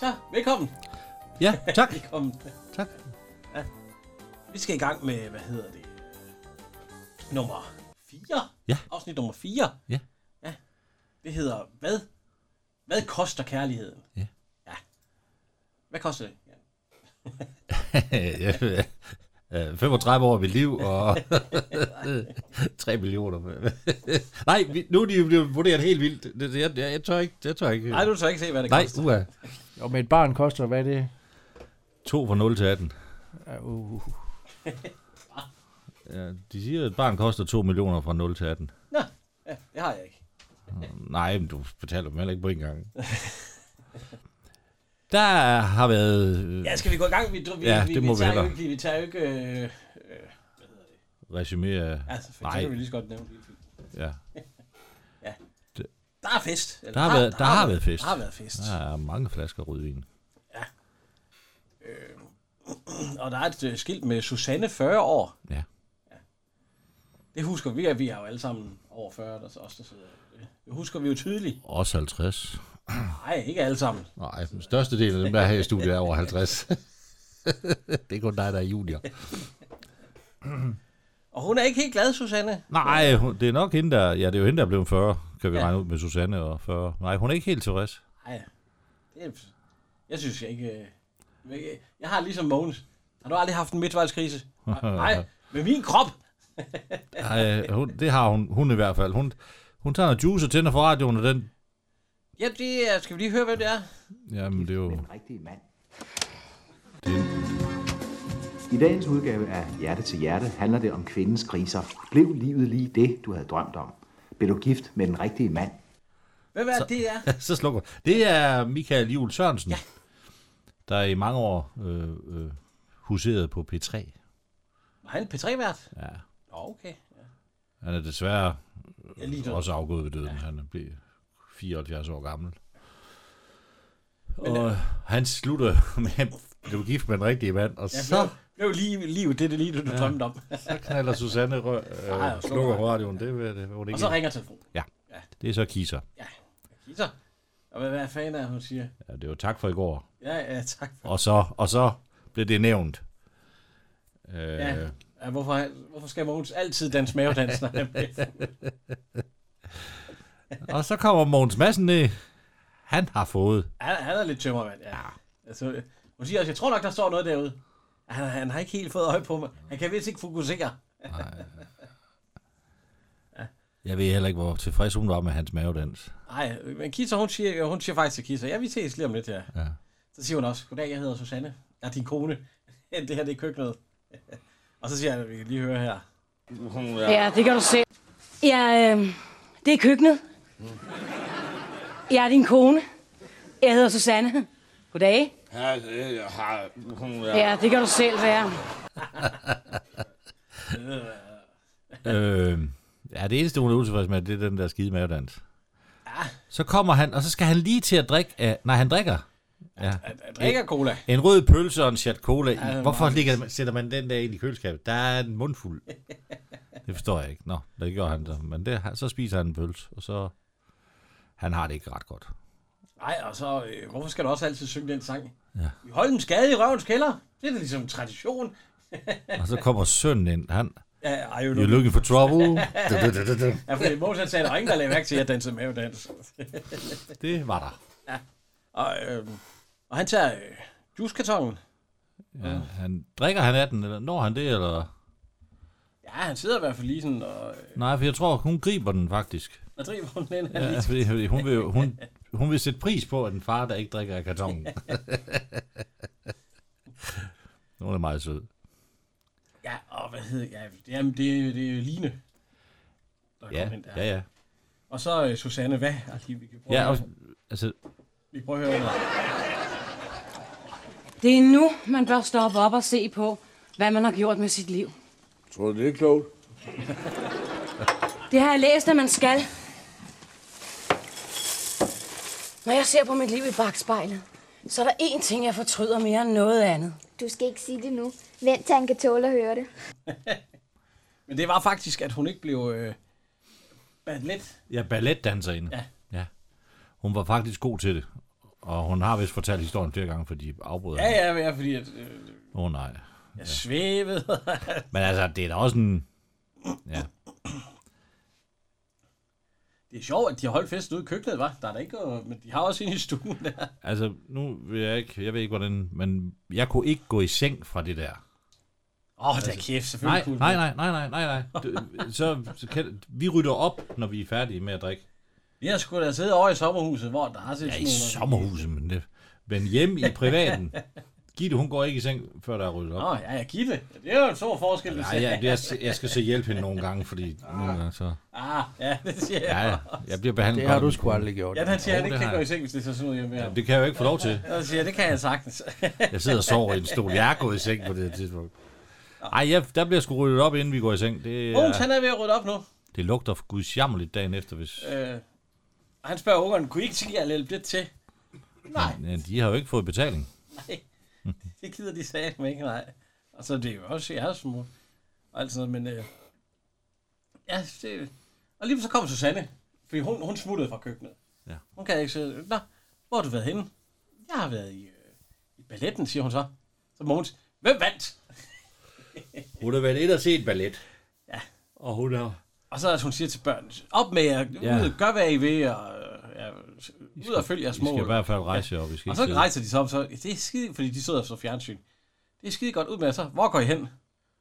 Så, velkommen. Ja, tak. Velkommen. tak. Vi skal i gang med, hvad hedder det? Nummer 4? Ja. Afsnit nummer 4? Ja. ja. Det hedder, hvad? Hvad koster kærligheden? Ja. ja. Hvad koster det? Ja. Øh, Jeg er 35 øh, år af mit liv, og 3 millioner. Nej, vi- nu er de jo blevet vurderet helt vildt. Det- det- Jeg, jeg, jeg tør ikke. Jeg tør ikke. Nej, du tør ikke se, hvad det Nej, koster. uha. Og med et barn koster, hvad er det? 2 fra 0 til 18. uhuh. Uh, Ja, De siger, at et barn koster 2 millioner fra 0 til 18. Nå, ja, det har jeg ikke. Nej, men du betaler dem heller ikke på en gang. Der har været øh, Ja, skal vi gå i gang? Vi, vi, Ja, vi, det vi, må vi tager hellere. jo ikke, vi tager jo ikke... Øh, øh, hvad hedder det? resumé af... Altså, for Nej. det kan vi lige så godt nævne. lige- Ja. Der er fest. Eller, Der har været- der har været fest. Der har været fest. Der er mange flasker rødvin. Øh, og der er et øh, skilt med Susanne 40 år. Ja. Det husker vi, at vi er jo alle sammen over 40, der så også der sidder. Det husker vi jo tydeligt. Også 50. Nej, ikke alle sammen. Nej, den største del af dem, der er her i studiet, er over 50. det er kun dig, der er junior. Og hun er ikke helt glad, Susanne. Nej, hun- det er nok hende, der... Ja, det er jo hende, der er blevet 40, kan vi Ja. ja. regne ud med Susanne og 40. Nej, hun er ikke helt tilfreds. Nej, det er, jeg synes jeg ikke... øh, jeg- Jeg har ligesom Mogens. Har du aldrig haft en midtvejskrise? Nej, med min krop. Nej, hun, det har hun, hun i hvert fald. Hun, hun tager noget juice og tænder for radioen, og den... Ja, det er, skal vi lige høre, hvem det er? Jamen, det er jo... den rigtige mand. Det, I dagens udgave af Hjerte til Hjerte handler det om kvindens kriser. Blev livet lige det, du havde drømt om? Blev du gift med den rigtige mand? Hvem er det, det er? så slukker hun. Det er Michael Juhl Sørensen, ja. der i mange år øh, øh, huserede på P3. Var han P3-vært? Ja, Nå, okay. han er desværre Jeg lige død. også afgået ved døden. Ja. Han blev 74 år gammel. Men, og han slutter med at blive gift med en rigtig mand, og Ja, så, blev, blev lige, livet det, det lige, du ja. drømte om. så knalder Susanne rø- Ej, øh, slukker og slukker. radioen. Det, vil- det, det, Og det, så det, ringer telefonen. det er så kisser. Ja, Peter. Og hvad, hvad fanden er det, hun siger? Ja, det var tak for i går. Ja, ja, tak. Og så, og så blev det nævnt. Øh, ja. Ja. Ja, hvorfor, hvorfor skal Mogens altid danse mavedans, når han bliver fuld? Og så kommer Mogens Madsen ned. Han har fået. han, han er lidt tømmermand, ja. Altså, hun siger også, jeg tror nok, der står noget derude. Han, han har ikke helt fået øje på mig. Han kan vist ikke fokusere. Jeg ved heller ikke, hvor tilfreds hun var med hans mavedans. Nej, men Kisser, hun siger, hun siger faktisk til Kisser, ja, vi ses lige om lidt her. Ja. Så siger hun også, goddag, jeg hedder Susanne. Jeg er din kone. Det her, det er køkkenet. Og så siger han, vi kan lige høre her. Ja, det kan du se. Ja, øh, det er køkkenet. Jeg er din kone. Jeg hedder Susanne. Goddag. Ja, det har hun været. Ja, det kan du selv være. øh, ja, det eneste, hun er utilfreds med, det er den der skide mavedans. Så kommer han, og så skal han lige til at drikke af... Nej, han drikker. Ja. Jeg, jeg drikker cola. En rød pølse og en chat cola. I. Hvorfor ligger, sætter man den der ind i køleskabet? Der er en mundfuld. Det forstår jeg ikke. Nå, det gjorde han så. Men det, så spiser han en pølse, og så... Han har det ikke ret godt. Nej, og så, øh, hvorfor skal du også altid synge den sang? Ja. Vi holder en skade i røvens kælder. Det er da ligesom en tradition. Og så kommer sønnen ind. Han, Ja, ej, you're jo, looking for trouble. Du, du, du, du, du. ja, fordi Mås han sagde, der var ingen, der lagde mærke til, at jeg dansede mavedans. Det var der. Og, øh, og han tager øh, juicekartongen. Ja, han, drikker han af den, eller når han det, eller... Ja, han sidder i hvert fald lige sådan og, øh, Nej, for jeg tror, hun griber den faktisk. og driver hun den her. Ja, Ja. fordi, fordi hun, vil, jo- hun, hun vil sætte pris på, at en far, der ikke drikker af kartongen. hun er meget sød. ja, og hvad hedder ja, Jamen, det, er- det er Line. Der Ja, kom ind der. ja, ja. Og så øh, Susanne, hvad? Ej, lige, vi, kan prøve, ja og, at- altså, vi prøver at høre noget. Det er nu, man bør stoppe op og se på, hvad man har gjort med sit liv. Tror du, det er klogt? Det har jeg læst, at man skal. Når jeg ser på mit liv i bagspejlet, så er der én ting, jeg fortryder mere end noget andet. Du skal ikke sige det nu. Vent til han kan tåle at høre det. Men det var faktisk, at hun ikke blev øh, bandt lidt. Ja, balletdanserinde. Ja. ja. Hun var faktisk god til det. Og hun har vist fortalt historien flere gange, fordi afbrød Ja, ja, men jeg- fordi at, øh, Åh oh, nej. jeg svævede. Men altså, det er da også en... Ja. det er sjovt, at de har holdt festen ude i køkkenet, var. Der er der ikke, øh, men de har også en i stuen der. Altså, nu vil jeg ikke... Jeg ved ikke, hvordan... Men jeg kunne ikke gå i seng fra det der. Åh, oh, der er kæft, selvfølgelig Nej, kunne nej, nej, nej, nej, nej, nej. Du, så, så kan, vi rydder op, når vi er færdige med at drikke. Jeg skulle da sidde over i sommerhuset, hvor der har set Ja, sådan i nogle- sommerhuset, men det... Men hjemme i privaten. Gitte, hun går ikke i seng, før der er ryddet op. Nå, ja, jeg giver det. Det er jo en stor forskel, du Nej, siger. jeg, jeg, jeg skal så hjælpe hende nogle gange, fordi nogle gange så... Ah, ja, det siger jeg. Ja, ja, jeg bliver behandlet Det har godt. du sgu aldrig gjort. Ja, den siger, Jo, han ikke det kan har gå i jeg. seng, hvis det er sådan noget hjemme her. Det kan jeg jo ikke få lov til. Så siger jeg, det kan jeg sagtens. Jeg sidder og sover i en stol. Jeg er gået i seng på det her tidspunkt. Ej, jeg, der bliver sgu ryddet op, inden vi går i seng. Det, Mogens, er, han er ved at rydde op nu. det lugter for guds jammerligt dagen efter, hvis... Øh, og han spørger ungerne, kunne I ikke tænke jer at hjælpe lidt til? Nej, Men, øh, de har jo ikke fået betaling. det gider de sagde mig ikke, nej. Og så er det er jo også jeres mor. Og alt sådan noget, men... Øh, ja, det, og lige så kom Susanne, fordi hun, hun smuttede fra køkkenet. Ja. Hun kan ikke sige, Nå, hvor har du været henne? Jeg har været i, øh, i balletten, siger hun så. Så Mogens, hvem vandt? Hun har været ind og set ballet. Ja. Og hun har... Og så at hun siger til børnene, op med jer, Ja. ud, gør hvad I vil, og øh, ja, ud og følg jeres Vi skal i mål. hvert fald rejse jer op. Vi skal Og ikke så sidde. rejser de sig op, så det er skide, fordi de sidder og så fjernsyn. Det er skide godt ud med jer, så. Hvor går I hen?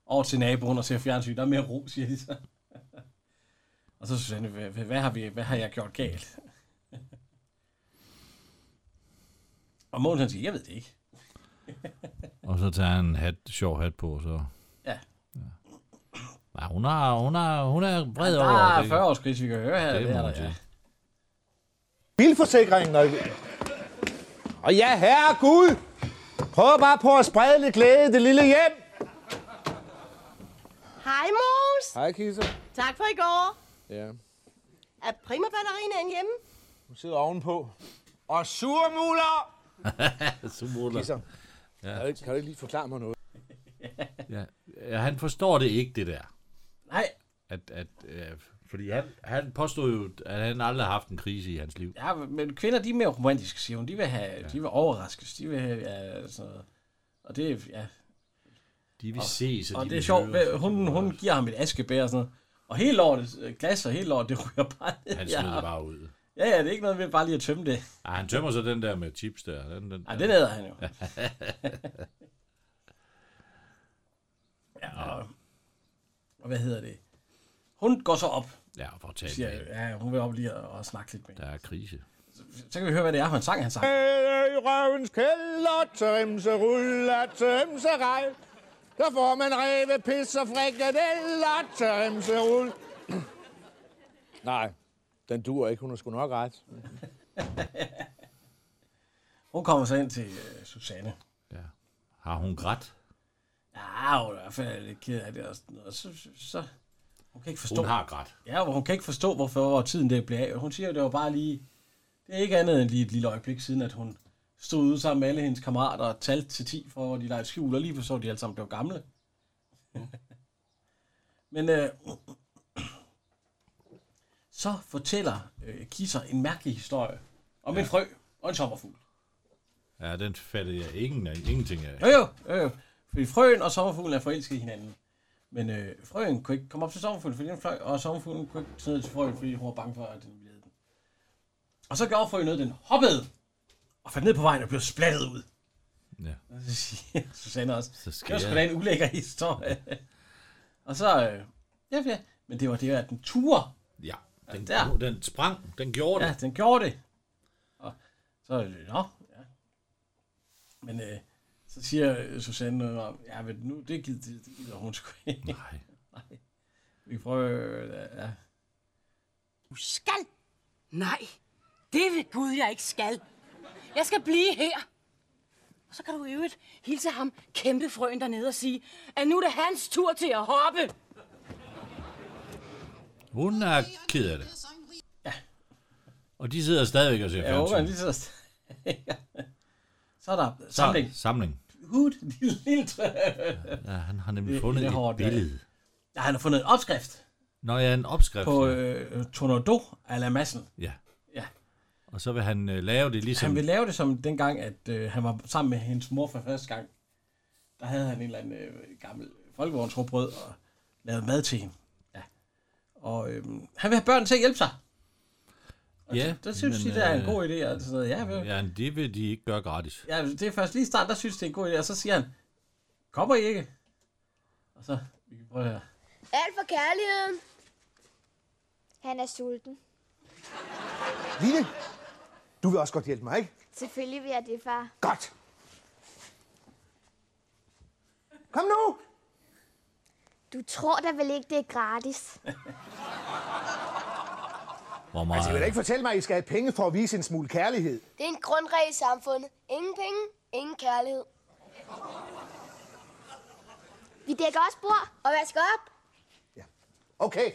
Over til naboen og ser fjernsyn. Der er mere ro, siger de så. og så Susanne, hvad, hvad, hvad, har vi, hvad har jeg gjort galt? og Mogens han siger, jeg ved det ikke. Og så tager han en hat, sjov hat på, så... Ja. Nej, hun, har, hun, har, hun er vred Der over er det. 40 års kris, vi kan høre her. Det Det, må det er man der, ja. sige. bilforsikringen. Og, og ja, herre Gud, prøv bare på at sprede lidt glæde i det lille hjem. Hej, Mos. Hej, Kisse. Tak for i går. Ja, Er primaballerinaen hjemme? hun sidder ovenpå. Og surmuler! Super. Kisser. Ja. Kan, du ikke, kan du ikke lige forklare mig noget? Ja. Ja, han forstår det ikke, det der. Nej, At, at, øh, fordi han, han påstod jo, at han aldrig har haft en krise i hans liv. ja, men kvinder, de er mere romantiske, siger hun. De vil, have, de vil overraskes. De vil have ja, sådan noget. Og det, er- ja, De vil se, så Og de det er vil sjovt, høre, så hvad- hun, de- hun giver ham et askebær og sådan noget. Og helt lortet, øh, glas og helt lortet, det ryger bare ned. Han ja. smider ja. bare ud. ja, ja, det er ikke noget med bare lige at tømme det. Ej, han tømmer så den der med chips der. Den, den, Nej, det æder han jo. ja, og, og, hvad hedder det? Hun går så op, Ja, for at tale siger, med. ja, hun vil op lige og, og snakke lidt med. hende. Der er krise. Så kan vi høre, hvad det er for en sang, han sang. I røvens kælder, tømse ruller, tømse rej. Der får man ræve, pis og frikadeller, tømse rull. Nej, den dur ikke. Hun har sgu nok ret. Hun kommer så ind til øh, Susanne. Ja. Har hun grædt? Ja, hun er i hvert fald lidt ked af det og sådan noget. Og Så, så, så, hun kan ikke forstå. Hun har grædt. Ja, hvor hun kan ikke forstå, hvorfor hvor tiden det blev af. Hun siger, at det var bare lige... Det er ikke andet end lige et lille øjeblik siden, at hun stod ude sammen med alle hendes kammerater og talte til 10 for, hvor de legede skjul, og lige for så de alle sammen blev gamle. Men øh, så fortæller øh, Kisser en mærkelig historie om ja. en frø og en sommerfugl. Ja, den fattede jeg ingen, ingenting af. Jo, jo, jo, jo. Fordi frøen og sommerfuglen er forelsket i hinanden. Men øh, frøen kunne ikke komme op til sommerfuglen, fordi den fløj, og sommerfuglen kunne ikke tage ned til frøen, fordi hun var bange for, at den ville æde den. Og så gjorde frøen noget, den hoppede og faldt ned på vejen og blev splattet ud. Ja. Og så siger Susanne også, Så det var skal sgu da jeg. en ulækker historie. og så, øh, ja, ja, men det var det, at den tur, Ja. Den, Ja, der. den sprang. Den gjorde ja, det. den gjorde det. Og så, øh, nå, ja. Men øh, så siger øh, Susanne noget om, ja, men nu, det gider, det gider hun sgu ikke. Nej. Vi prøver... Ja. Du skal! Nej, det vil Gud, jeg ikke skal. Jeg skal blive her. Og så kan du i øvrigt hilse ham, kæmpe frøen dernede og sige, at nu er det hans tur til at hoppe. Hun er ked af det. Og de sidder stadigvæk og ser Jeg håber, han fjernsyn. lige så... så er der samling. Samling. Hud, lille, lille træ. Ja, han har nemlig Det- fundet det er et hårdt, ja. billede. Ja, han har fundet en opskrift Nå ja, en opskrift. på ja. øh, Tornado à la massen. Ja. Ja. Og så vil han øh, lave det ligesom... Han ville lave det som dengang, at øh, han var sammen med hendes mor for første gang. Der havde han en eller anden øh, gammel folkevognsråbrød og lavede mad til hende. Ja. Og øh, han vil have børn til at hjælpe sig. Og Ja, det, altså, der synes men, de, det er en øh, god idé. Og sådan noget. Ja, vel. Ja, men det vil de ikke gøre gratis. ja, det er først lige i starten, der synes det er en god idé. Og så siger han, kommer I ikke? Og så, vi kan prøve her. Alt for kærligheden. Han er sulten. Line, du vil også godt hjælpe mig, ikke? Selvfølgelig vil jeg det, far. Godt. Kom nu! Du tror da vel ikke, det er gratis? Hvor meget... Altså, jeg vil da ikke fortælle mig, at I skal have penge for at vise en smule kærlighed. Det er en grundregel i samfundet. Ingen penge, ingen kærlighed. Vi dækker også bord og vasker op. Okay,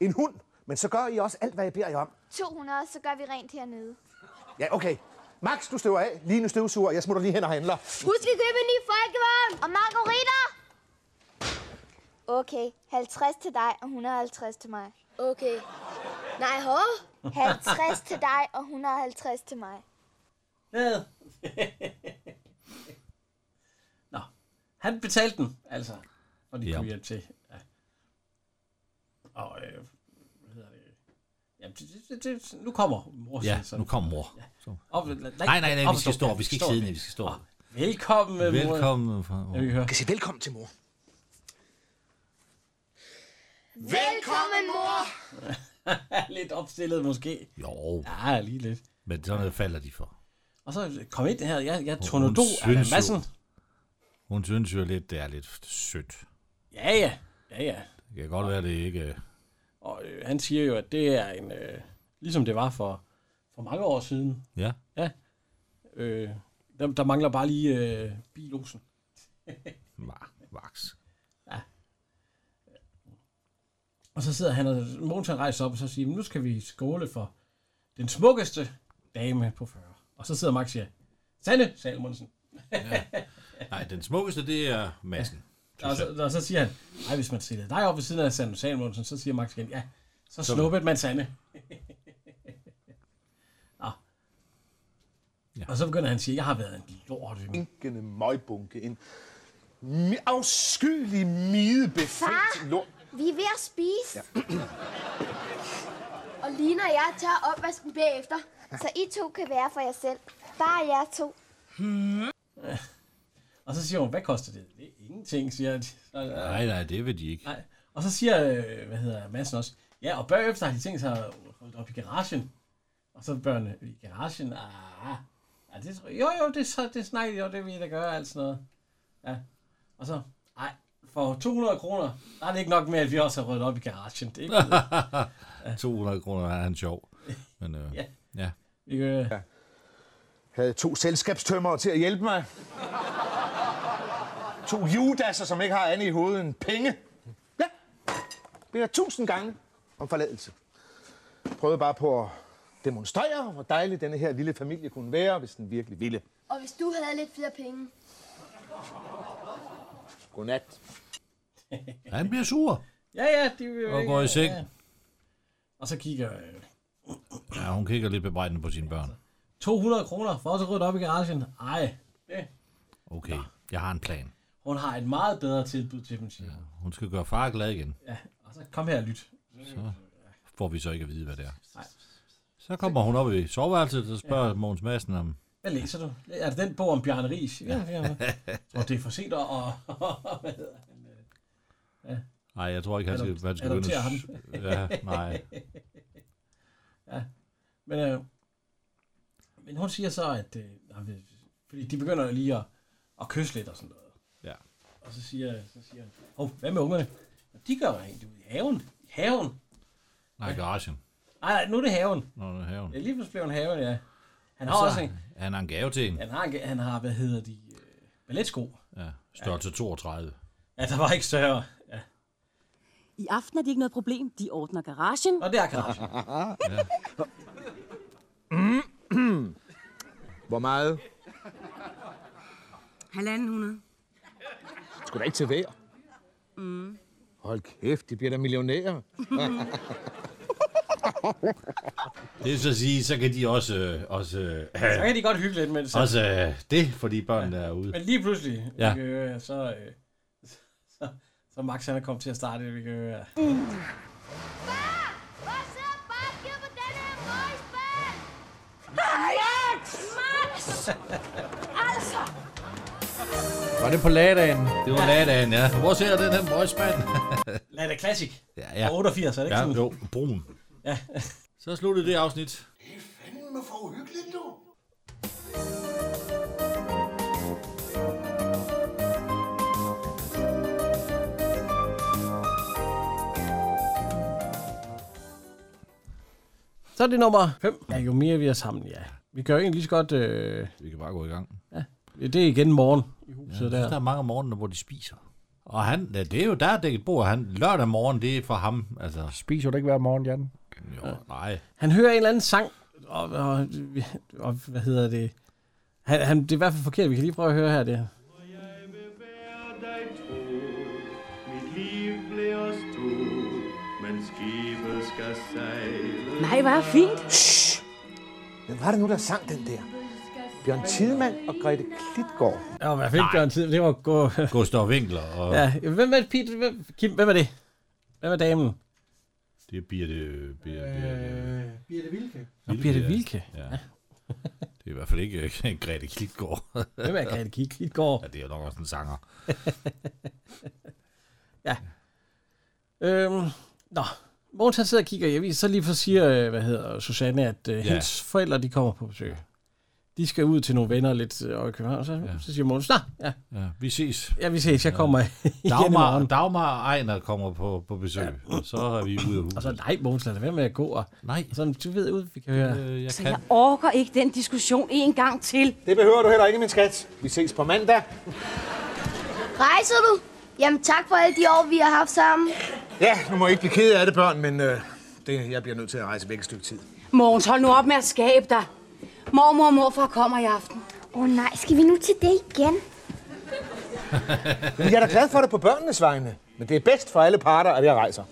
en hund, men så gør I også alt, hvad jeg beder jer om. 200, så gør vi rent hernede. Ja, okay. Max, du støver af. Line støvsuger. Jeg smutter lige hen og handler. Husk at købe en ny folkevarm. Og margaritter. Okay, 50 til dig og 150 til mig. Okay. Nej, hå. 50 til dig og 150 til mig. Ned. Nå, han betalte den, altså. Og de Ja. ja. kunne hjælpe til. Ja. Og, øh, hvad hedder det? Jamen, det, det, det, det, nu kommer mor. Ja, siger sådan. nu kommer mor. Så. Op, nej, Nej, nej, nej, vi skal stå op. Vi skal ikke sidde ned, vi skal stå op. Ah, Velkommen, mor. Velkommen. fra- Jeg vil høre. kan sige velkommen til mor. Velkommen, mor! lidt opstillet måske. Jo, Ja, lige lidt. men sådan noget falder de for. Og så kom ind her. Jeg, jeg Hun tornado af synes jo- massen. Hun synes jo lidt, det er lidt sødt. Ja, ja. Ja, ja. Det kan godt være, det ikke... Og øh, han siger jo, at det er en... Øh, ligesom det var for, for mange år siden, Ja, Øh, der, der mangler bare lige øh, bilosen. ma- Max. Og så sidder han og Mogens han rejser op og så siger, nu skal vi skåle for den smukkeste dame på 40. Og så sidder Max og siger, Sanne Salmonsen. Nej, den smukkeste, det er massen. Og så, og så siger han, nej, hvis man stiller dig op ved siden af Sanne Salmonsen, så siger Max igen, ja, så snuppede man Sanne. Nå. Ja. Og så begynder han at sige, jeg har været en lort. Inkende møgbunke. En mi- afskyelig midebefændt lort. Vi er ved at spise. Ja. og Lina og jeg tager opvasken bagefter. Så I to kan være for jer selv. Bare jer to. Og så siger hun, hvad koster det? Det er ingenting, siger han. Så- Nej, nej, det vil de ikke. Nej. Og så siger, øh, hvad hedder Madsen også, ja, og bagefter har de tænkt sig at holde op i garagen. Og så børnene, i garagen, ah, ja, det, tror- jo, jo, det, så, det snakker de om, det vi der gør, alt sådan noget. Ja. Og så, nej, for 200 kroner, der er det ikke nok med, at vi også har ryddet op i garagen. Det er ikke, 200 kroner er han sjov. Men øh, Ja. ja. vi kan, øh, Havde to selskabstømmer til at hjælpe mig. To judasser, som ikke har andet i hovedet end penge. Ja, beder tusind gange om forladelse. Prøvede bare på at demonstrere, hvor dejlig denne her lille familie kunne være, hvis den virkelig ville. Og hvis du havde lidt flere penge. Godnat. Han bliver sur. ja, ja, de vil jo Og ikke- går i seng. Ja. Og så kigger øh, Ja, hun kigger lidt bebrejdende på sine børn. 200 kroner for også at rydde op i garagen. Ej, Okay, jeg har en plan. hun har et meget bedre tilbud til dem, siger hun. Hun skal gøre far glad igen. Ja, og så kom her og lyt. Får vi så ikke at vide, hvad det er. Nej. Så kommer hun op i soveværelset og spørger ja. Mogens Madsen om... Hvad læser du? Er det den bog om Bjarne Ries? Ja, ja. Jeg tror, det er for sent at... Og, hvad hedder han? Nej, jeg tror ikke, han skal, Adopt- han skal begynde at... adoptere Ja, nej. Men, øh, men hun siger så, at... Øh, nej, men- fordi de begynder lige at, at kysse lidt og sådan noget. Ja. Og så siger, så siger han, oh, hvad med ungerne? De gør rent ude i haven. I haven? Nej, garagen. Nej, nej, nu er det haven. Nå, det er haven. Ja, lige pludselig blev han haven, ja. Han Han har Og så- også en, Han har en gave til en. han har, en- han har hvad hedder de, øh, balletsko. Ja, størrelse 32. Ja, der var ikke større. Ja. I aften er det ikke noget problem. De ordner garagen. Og det er garagen. Hvor meget? Halvanden hundrede. Skulle da ikke til vejr? Mm. Hold kæft, de bliver da millionærer. Det vil så sige, så kan de også... øh, også Så kan de godt hygge lidt med det. selv. Også øh, det, fordi børnene er ude. Men lige pludselig, Ja. ja. vi kan høre, så, øh, så, så Max han er kommet til at starte det, vi kan høre. Max! Max! altså! Var det på lagdagen? Det var lagdagen, ja. Hvor ser den her møgspand? Lad det classic. ja, ja. Fra 88, er det ikke ja, sådan? Jo, brun. Ja. så sluttede det afsnit. Fanden for uhyggeligt, du. Så er det nummer 5. Ja, jo mere vi er sammen, ja. Vi kan jo egentlig lige så godt... Øh, Vi kan bare gå i gang. ja, det er igen morgen i Ja, huset så ja, der. der. der er mange om morgenen, hvor de spiser. Og han, ja, det er jo der, er dækket bord. Han, lørdag morgen, det er for ham. Altså, Spiser du ikke hver morgen, Jan? jo, nej. Han hører en eller anden sang, og, og, og hvad hedder det? Han, han, det er i hvert fald forkert, vi kan lige prøve at høre her det. Mit liv bliver stort, men skibet skal sejle. Nej, hvor er fint. Shh. Hvem var det nu, der sang den der? Bjørn Tidemand og Grete Klitgaard. Ja, og hvad fik Bjørn tid? Det var gå... Gustav Winkler, og ja. Ja, hvem var det, Pete? Hvem, Kim, hvem er det? Hvem er damen? det er Birte... Birte, Øh, Birte. Birte Vilke. Nå, Birte Vilke. Ja. ja. Det er i hvert fald ikke øh, Grete Klitgaard. Hvem er Grete Klitgaard? Ja, det er jo nok også en sanger. Ja. Øhm, nå, Mogens han sidder og kigger i avisen, så lige for siger, øh, hvad hedder Susanne, at øh, Ja. ja. hendes forældre, de kommer på besøg. De skal ud til nogle venner lidt øh, over i København, så, ja. så siger Mogens, nej, ja. Ja, vi ses. ja, vi ses, jeg kommer ja. igen i Dagmar, morgen. Dagmar og Ejner kommer på, på besøg, ja. og så er vi ude af huset. Og så, nej, Mogens, lad det være med at gå, og nej. sådan, du ved ud, vi kan høre. Øh, jeg Så jeg orker ikke den diskussion en gang til. Det behøver du heller ikke, min skat. Vi ses på mandag. Rejser du? Jamen tak for alle de år, vi har haft sammen. Ja, nu må I ikke blive ked af det, børn, men øh, det, jeg bliver nødt til at rejse væk et stykke tid. Mogens, hold nu op med at skabe dig. Mormor og morfar kommer i aften. Åh oh, nej, skal vi nu til det igen? Men jeg er da glad for det på børnenes vegne. Men det er bedst for alle parter, at jeg rejser.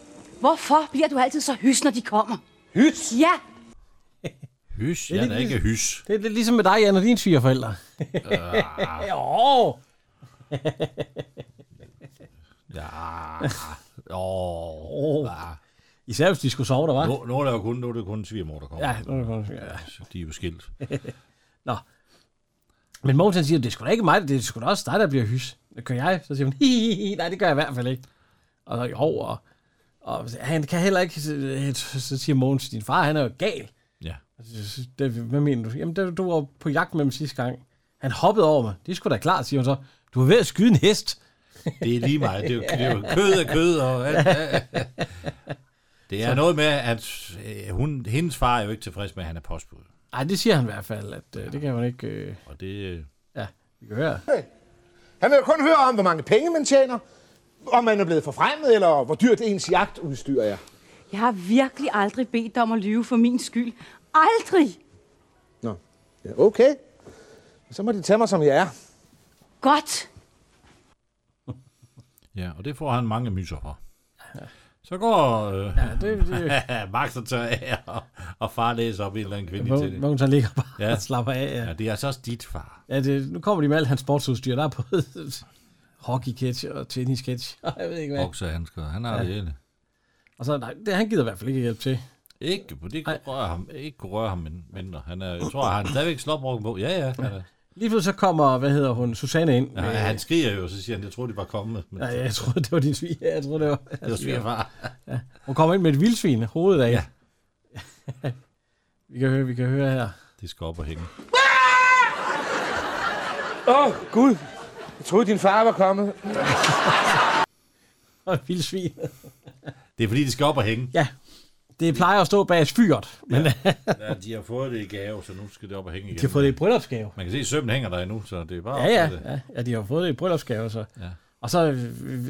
Hvorfor bliver du altid så hys, når de kommer? Hys? Ja, Hys? Jeg er da ikke hys. Det er lidt ligesom med dig, Jan, og dine svigerforældre. Ah. jo. Ja. Åh. Åh. Ah. Især hvis de skulle sove der, var. Nu, nu, er der jo kun, nu er det kun svigermor, der kommer. Ja, nu er det kun- ja. Så De er jo skilt. Nå. Men Mogens han siger, det er sgu da ikke mig, det er sgu da også dig, der bliver hys. Det gør jeg. Så siger hun, hihihi, nej, det gør jeg i hvert fald ikke. Og så, jo, og, og han kan heller ikke, så- så siger Mogens, din far, han er jo gal. Ja. Og så siger jeg, "Det- Hvad mener du? Jamen, det, du var på jagt med ham sidste gang. Han hoppede over mig. Det er sgu da klart, siger hun så. Du er ved at skyde en hest. Det er lige meget. Det er jo, det er jo kød og kød og alt. Det er Så- noget med, at øh, hun, hendes far er jo ikke tilfreds med, at han er postbud. Nej, det siger han i hvert fald, at øh, det kan man ikke... Øh, Og det... øh, ja, vi kan høre. Han vil jo kun høre om, hvor mange penge man tjener, om man er blevet forfremmet, eller hvor dyrt ens jagtudstyr er. jeg har virkelig aldrig bedt dig om at lyve for min skyld. Aldrig. Nå, ja, okay. Så må de tage mig, som jeg er. Godt. Ja, og det får han mange myser for. Så går øh, Ja, det- Max og tør af, og, og far læser op en eller anden kvinde til Mogens- det. Mogens han ligger bare Ja. ja. og slapper af. Ja. Ja, det er altså også dit far. Ja, det, nu kommer de med alt hans sportsudstyr. Der er både hockey-catch og tennis-catch. og Jeg ved ikke hvad. Boksehandsker, han har Ja. det hele. Og så, nej, det, han gider i hvert fald ikke hjælpe til. Ikke, på det kunne røre ham, ikke kunne røre ham min- mindre. Han er, jeg tror, han har stadigvæk slåbrokken på. Ja, ja. Han, er, Lige pludselig så kommer, hvad hedder hun, Susanne ind. ja, han skriger jo, så siger han, jeg troede, det var kommet. Men, Nej, jeg troede, det var din svig. Ja, jeg troede, det var... det var svigerfar. Ja. Hun kommer ind med et vildsvin, hovedet af. Ja. vi, kan høre, vi kan høre her. Det skal op og hænge. Åh, oh, Gud. Jeg troede, din far var kommet. Og et vildsvin. Det er fordi, det skal op og hænge. Ja. Det plejer at stå bag fyret. Men ja. Ja, de har fået det i gave, så nu skal det op og hænge igen. de har fået det i bryllupsgave. Man kan se, at sømmen hænger der endnu, så det er bare... Ja, ja, Det. ja. ja de har fået det i bryllupsgave, så. Ja. Og så, øh, øh,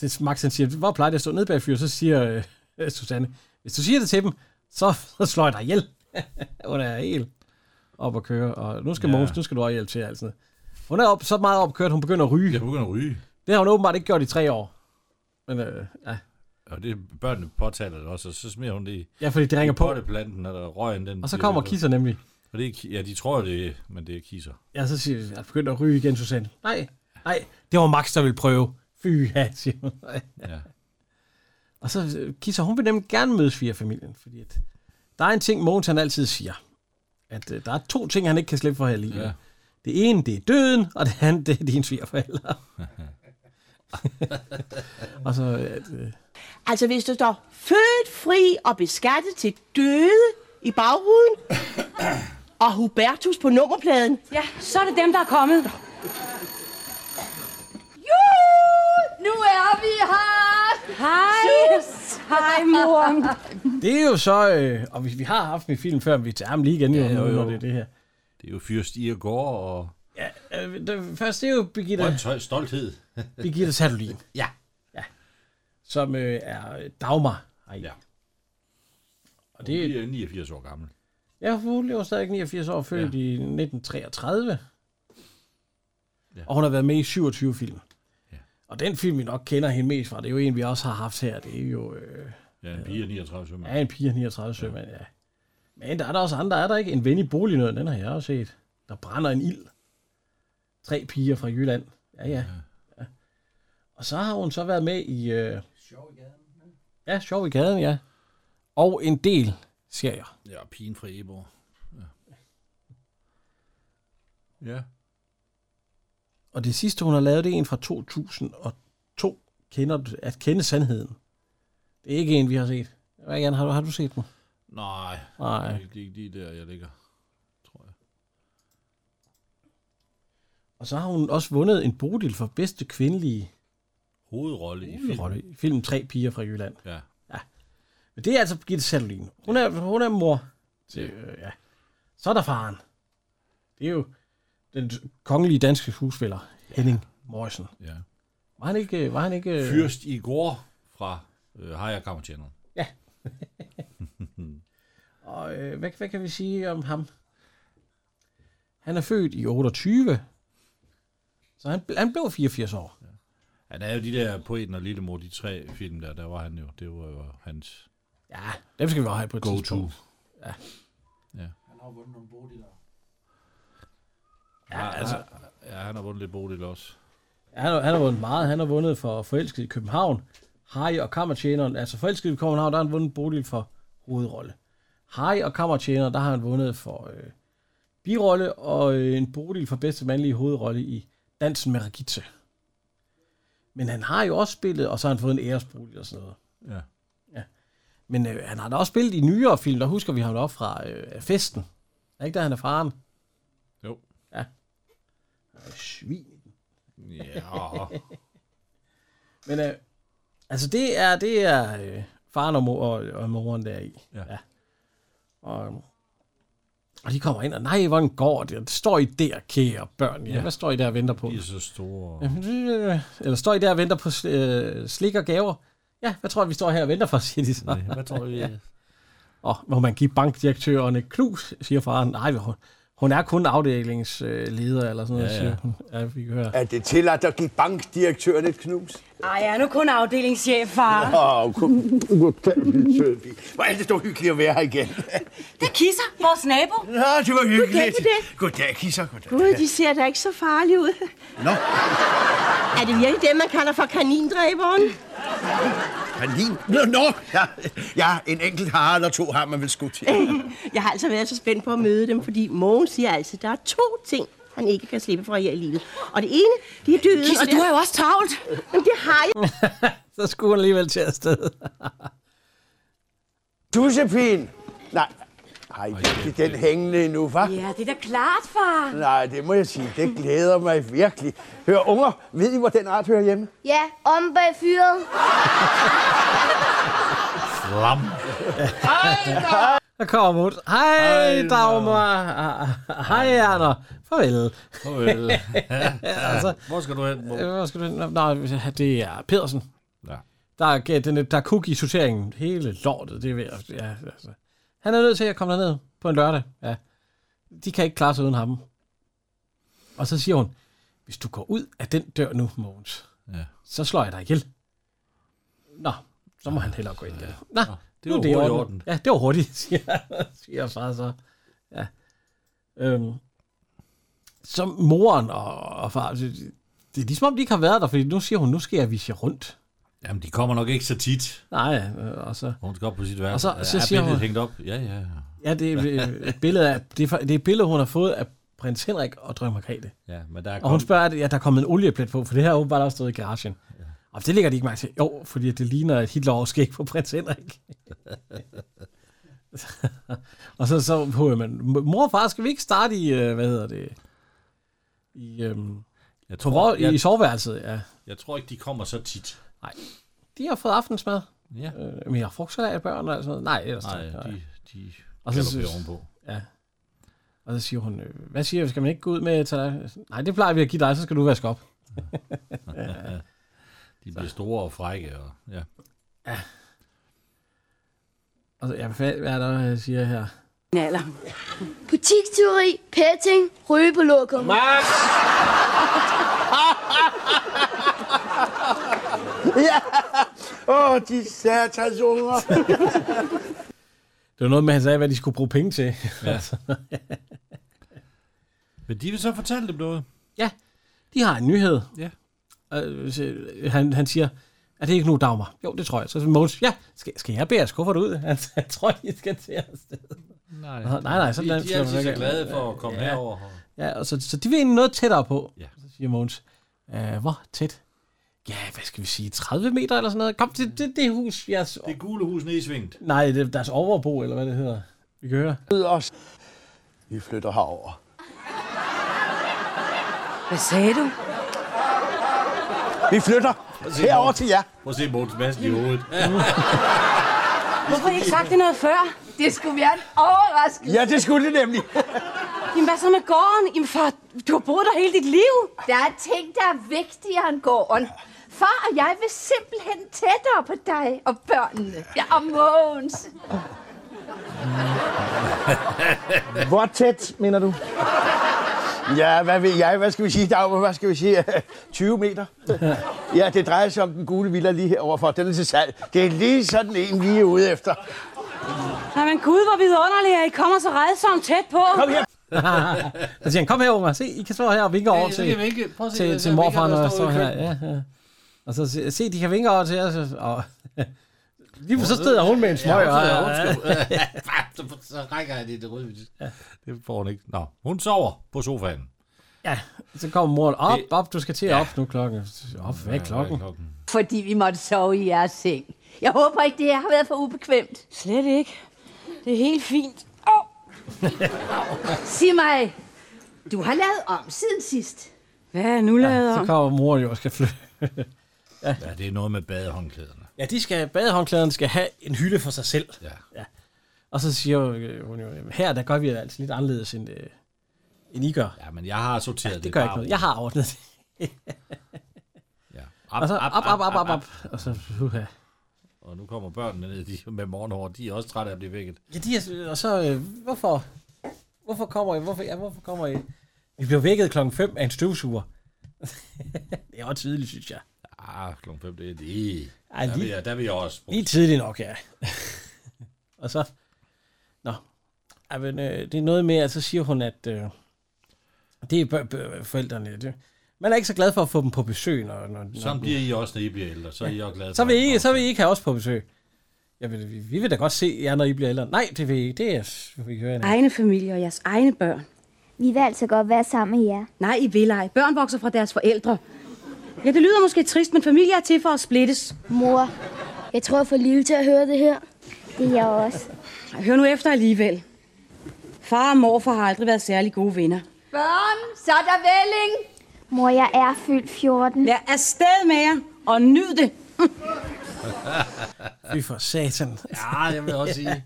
det, Max han siger, hvor plejer det at stå nede bag fyret? Så siger øh, Susanne, hvis du siger det til dem, så, så slår jeg dig ihjel. Hun er helt op at køre, og nu skal Ja. ja. Mogens, nu skal du også hjælpe til, altså. Hun er op, så meget op at køre, at hun begynder at ryge. Jeg begynder at ryge. Det har hun åbenbart ikke gjort i tre år. Men øh, ja. Og det, børnene påtaler det også, og så smider hun det i... Ja, fordi det ringer i på. potteplanten, og der røgen den... Og så bliver kommer ved- kisser nemlig. Og det er, ki- ja, de tror det, er- men det er kisser. Ja, så siger jeg, jeg begynder at ryge igen, Susanne. Nej, nej, det var Max, der ville prøve. Fy, ja, siger hun. Ja. Og så øh, Kisser, hun vil nemlig gerne mødes fire familien, fordi at der er en ting, Mogens han altid siger, at øh, der er to ting, han ikke kan slippe for her i livet. Ja. Ja. Det ene, det er døden, og det andet, det er dine svigerforældre. og så, at, øh, Altså, hvis du står født fri og beskattet til døde i bagruden, og Hubertus på nummerpladen. Ja, så er det dem, der er kommet. Juhu! Nu er vi her! Hej! Sus! Hej, mor! det er jo så, øh, og vi, vi har haft med film før, men vi tager ham lige igen, ja, jo, jo, jo. det er det her. Det er jo fyrst i og går, og... Øh, det, først det er jo Birgitte, Rødt tøj, stolthed. Birgitte Satolin, Ja. som øh, er Dagmar. Ej. Ja. Og det... det, Hun er 89 år gammel. Ja, for hun lever stadig 89 år, født ja. i 1933. Ja. Ja. Og hun har været med i 27 film. Ja. Og den film, vi nok kender hende mest fra, det er jo en, vi også har haft her. Det er jo øh, Ja, en pige er 39 sømmer. er en pige af 39 sømand, ja. Men der er der også andre, er der ikke? En ven i bolignøden, den har jeg også set. Der brænder en ild. Tre piger fra Jylland. Ja, ja. ja. Og så har hun så været med i... Øh, Sjov i gaden. ja, Sjov i gaden, ja. Og en del serier. Ja, pigen fra Eborg. Ja. ja. Og det sidste, hun har lavet, det er en fra 2002, kender, du- At kende sandheden. Det er ikke en, vi har set. Hvad, Jan, har du, har du set den? Nej, Nej. Det, er ikke- det er ikke lige der, jeg ligger. Og så har hun også vundet en bodil for bedste kvindelige Hovedrolle i filmen. rolle i filmen Tre piger fra Jylland. Ja. ja. Men det er altså Birgitte Satolin. Hun er, hun er mor. Til, øh, ja. Så er der faren. Det er jo den kongelige danske skuespiller, Henning Morrison. Ja. Var han ikke... Var han ikke øh, Fyrst i går fra øh, Higher Camera Channel. Ja. og øh, hvad, hvad kan vi sige om ham? Han er født i 28, så han, han blev 84 år. Ja, der er jo de der Poeten og Lillemor, de tre film der, der var han jo. Det var jo hans Ja, dem skal vi også have på et go-to. tidspunkt. Han har vundet nogle bodiler. Ja, altså, ja, han har vundet lidt Bodil også. Ja, Han, har- han har vundet meget. Han har vundet for Forelsket i København, Harry og Kammertjeneren. Altså Forelsket i København, der har han vundet Bodil for hovedrolle. Harry og Kammertjeneren, der har han vundet for øh, birolle og øh, en Bodil for bedste mandlige hovedrolle i Dansen med Ragitze. Men han har jo også spillet, og så har han fået en æresbodil og sådan noget. Ja. ja. Men øh, han har da også spillet i nyere film, der husker vi ham op fra øh, festen. Er ikke der, han er faren? Jo. Ja. Øh, Svin. Ja. Men øh, altså det er, det er øh, faren og, mor, og, og moren der i. Ja. ja. Og, og de kommer ind, og nej, hvordan går det? Står I der, kære børn? Ja, Ja. ja. hvad står I der og venter på? De er så store. Jamen, Eller står I der og venter på sl- øh, slik og gaver? Ja, hvad tror I, vi står her og venter for, siger de så. Hvad tror øh? vi? Ja. Og må man give bankdirektøren et knus, siger faren. Nej, hun, hun er kun afdelingsleder eller sådan noget, Ja, ja. ja, ja. siger hun. Ja, vi kan høre. Er det tilladt at give bankdirektøren et knus? Ej, jeg er nu kun afdelingschef, far. Åh, kom, god dag, min søde pige. Hvor er det dog hyggeligt at være her igen. Det er Kisser, vores nabo. Nå, det var hyggeligt. Goddag, goddag. Goddag, kisser. Goddag. Gud, de ser da ikke så farlige ud. Nå, Er det virkelig dem, man kalder for kanindræberen? kanin. Nå, nå. Ja, ja, en enkelt har eller to har man vel skudt til. Jeg har altså været så spændt på at møde dem, fordi Mogens siger altså, at der er to ting, han ikke kan slippe fra her i livet. Og det ene, det er døden. Kisser, og det du er- har jo også travlt. Jamen, det har jeg. Så skulle hun alligevel til afsted. Dussepin. Nej, har I ikke den hængende endnu, hva'? Ja, det er da klart, far. Nej, det må jeg sige. Det glæder mig virkelig. Hør, unger, ved I, hvor den art hører hjemme? Ja, om bag fyret. Lam. Der kommer Mut. Hej, Dagmar. Hej, Erner. Farvel. Farvel. altså, Hvor skal du hen? Bo? Øh, Hvor skal du hen? Nej, det er Pedersen. Ja. Der er, gæt- den, er- der er kuk i sorteringen. Hele lortet, det er ved at... Ja, altså. Han er nødt til at komme derned på en lørdag. Ja. De kan ikke klare sig uden ham. Og så siger hun, hvis du går ud af den dør nu, Mogens, Ja. så slår jeg dig ihjel. Nå, så må han hellere gå ind der. Nå, det nu var er det i hurtigt i orden. orden. Ja, det var hurtigt, siger, siger far så. Ja. Øhm, så moren og, og far, det, det er ligesom om, de ikke har været der, fordi nu siger hun, nu skal jeg vise jer rundt. Jamen, de kommer nok ikke så tit. Nej, øh, og så... Hun skal op på sit værelse. Og så- Ja, så er siger billedet hun- hængt op? Ja, ja. Ja, det er øh, et billede af, det er, fra- det er et billede, hun har fået af prins Henrik og dronning Margrethe. Ja, men der er og hun kommet- spørger, at ja, der er kommet en olieplet på, for det her er åbenbart også stået i garagen. Ja. Og det ligger de ikke mærke til. Jo, fordi det ligner et Hitler-overskæg på prins Henrik. og så, så hører man, mor og far, skal vi ikke starte i, øh, hvad hedder det, i, øhm, jeg tror, tror- i, jeg- soveværelset, ja. Jeg tror ikke, de kommer så tit. Nej. De har fået aftensmad. Ja. Øh, men jeg har frugtsalat af børn og alt sådan noget. Nej, ellers Nej, ikke. de- de Og så kalder synes- det ovenpå. Ja. Og så siger hun, øh, hvad siger jeg, skal man ikke gå ud med til dig? Nej, det plejer vi at give dig, så skal du vaske op. De bliver store og frække. Og, ja. og så, ja, hvad fanden- hvad er der, jeg siger her? Naller. Butikstyveri, petting, ryge på lokum. Max! Ja! Åh, oh, de satans unger. Det var noget med, at han sagde, hvad de skulle bruge penge til. Ja. Altså, Men de vil så fortælle dem noget. ja, de har en nyhed. Ja. Øh, så, øh, han, han siger, er det ikke nu Dagmar? Jo, det tror jeg. Så siger Måns, ja, skal, skal jeg bære jeres kuffert ud? Han jeg tror, I skal til afsted. Nej, nej, nej. Så de, de langt er skal man altid så ikke. glade for at komme ja. herover. Ja, og så, så de vil egentlig noget tættere på. Ja. Så siger Måns, øh, hvor tæt? Ja, hvad skal vi sige, 30 meter eller sådan noget? Kom til det, det hus, jeres... Det gule hus nede i svinget. Nej, det er deres overbo, eller hvad det hedder. Vi kan høre. os. Vi flytter herover. Hvad sagde du? Vi flytter herover til jer. Prøv at se Måns Madsen i hovedet. Hvorfor har I ikke sagt det noget før? Det skulle være en overraskelse. Ja, det skulle det nemlig. Jamen, hvad så med gården? Jamen, far, du har boet der hele dit liv. Der er ting, der er vigtigere end gården. Far og jeg vil simpelthen tættere på dig og børnene. Ja, og Mogens. Hvor tæt, mener du? Ja, hvad ved jeg? Hvad skal vi sige, Dagmar? Hvad skal vi sige? 20 meter? Ja, det drejer sig om den gule villa lige herovre for. Den er til salg. Det er lige sådan en, vi er ude efter. Nej, men gud, hvor vidunderligt, at I kommer så redsomt tæt på. Kom her. så siger han, kom her, Omar, se, I kan stå her og vinke over så til, kan vi ikke- prøv at se, til, der- til der morfar, vinker, der når jeg står står i her. Ja, køkkenet. ja. Og så se, se, de kan vinke over til os, og lige så stod hun med en smøg. Ja, hun sidder, og- hun skal- så, så rækker jeg det, det røde. Det får hun ikke. Nå, hun sover på sofaen. Ja, så kommer moren op, op, du skal til op nu klokken. Op, hvad er klokken? Fordi vi måtte sove i jeres seng. Jeg håber ikke, det her har været for ubekvemt. Slet ikke. Det er helt fint. Sig mig, du har lavet om siden sidst. Hvad er jeg nu lavet Så om? kommer moren jo og skal flytte. ja. Ja, det er noget med badehåndklæderne. ja, de skal, badehåndklæderne skal have en hylde for sig selv. Ja. ja. Og så siger øh, hun jo, "Jamen, her der gør vi det altså lidt anderledes, end, øh, end I gør. Ja, men jeg har sorteret det gør ikke noget. Jeg har ordnet det. Op, og Altså, så op, op, op, op, op, op. Og så, uha. Og nu kommer børnene ned de, med morgenhår. De er også trætte af at blive vækket. Ja, de er, og så, øh, hvorfor, hvorfor kommer I, hvorfor, ja, hvorfor kommer I? Vi blev vækket klokken 5 af en støvsuger. det er også tidligt, synes jeg. Ah, klokken 5, det er det. Ej, der, lige- vil jeg, der vil jeg også bruge. Lige tidligt nok, ja. og så, nå, Ej, men, øh, det er noget med, at så siger hun, at øh, det er bør, bør, forældrene. Det, man er ikke så glad for at få dem på besøg. Når, når, Sådan når, bliver I også, når I bliver ældre. Så er I også glade så for vil, det. I, så vil I ikke have os på besøg. Jeg vil, vi, vi vil da godt se jer, når I bliver ældre. Nej, det vil I ikke. Det er, vi hører hende. Egne familier og jeres egne børn. Vi vil altså godt være sammen med jer. Nej, I vil ej. Børn vokser fra deres forældre. Ja, det lyder måske trist, men familie er til for at splittes. Mor, jeg tror, jeg får lille til at høre det her. Det er jeg også. Hør nu efter alligevel. Far og morfar har aldrig været særlig gode venner. Børn, så er der vælling. Mor, jeg er fyldt 14. Vær afsted med jer, og nyd det. Fy for satan. Ja, det vil jeg også sige.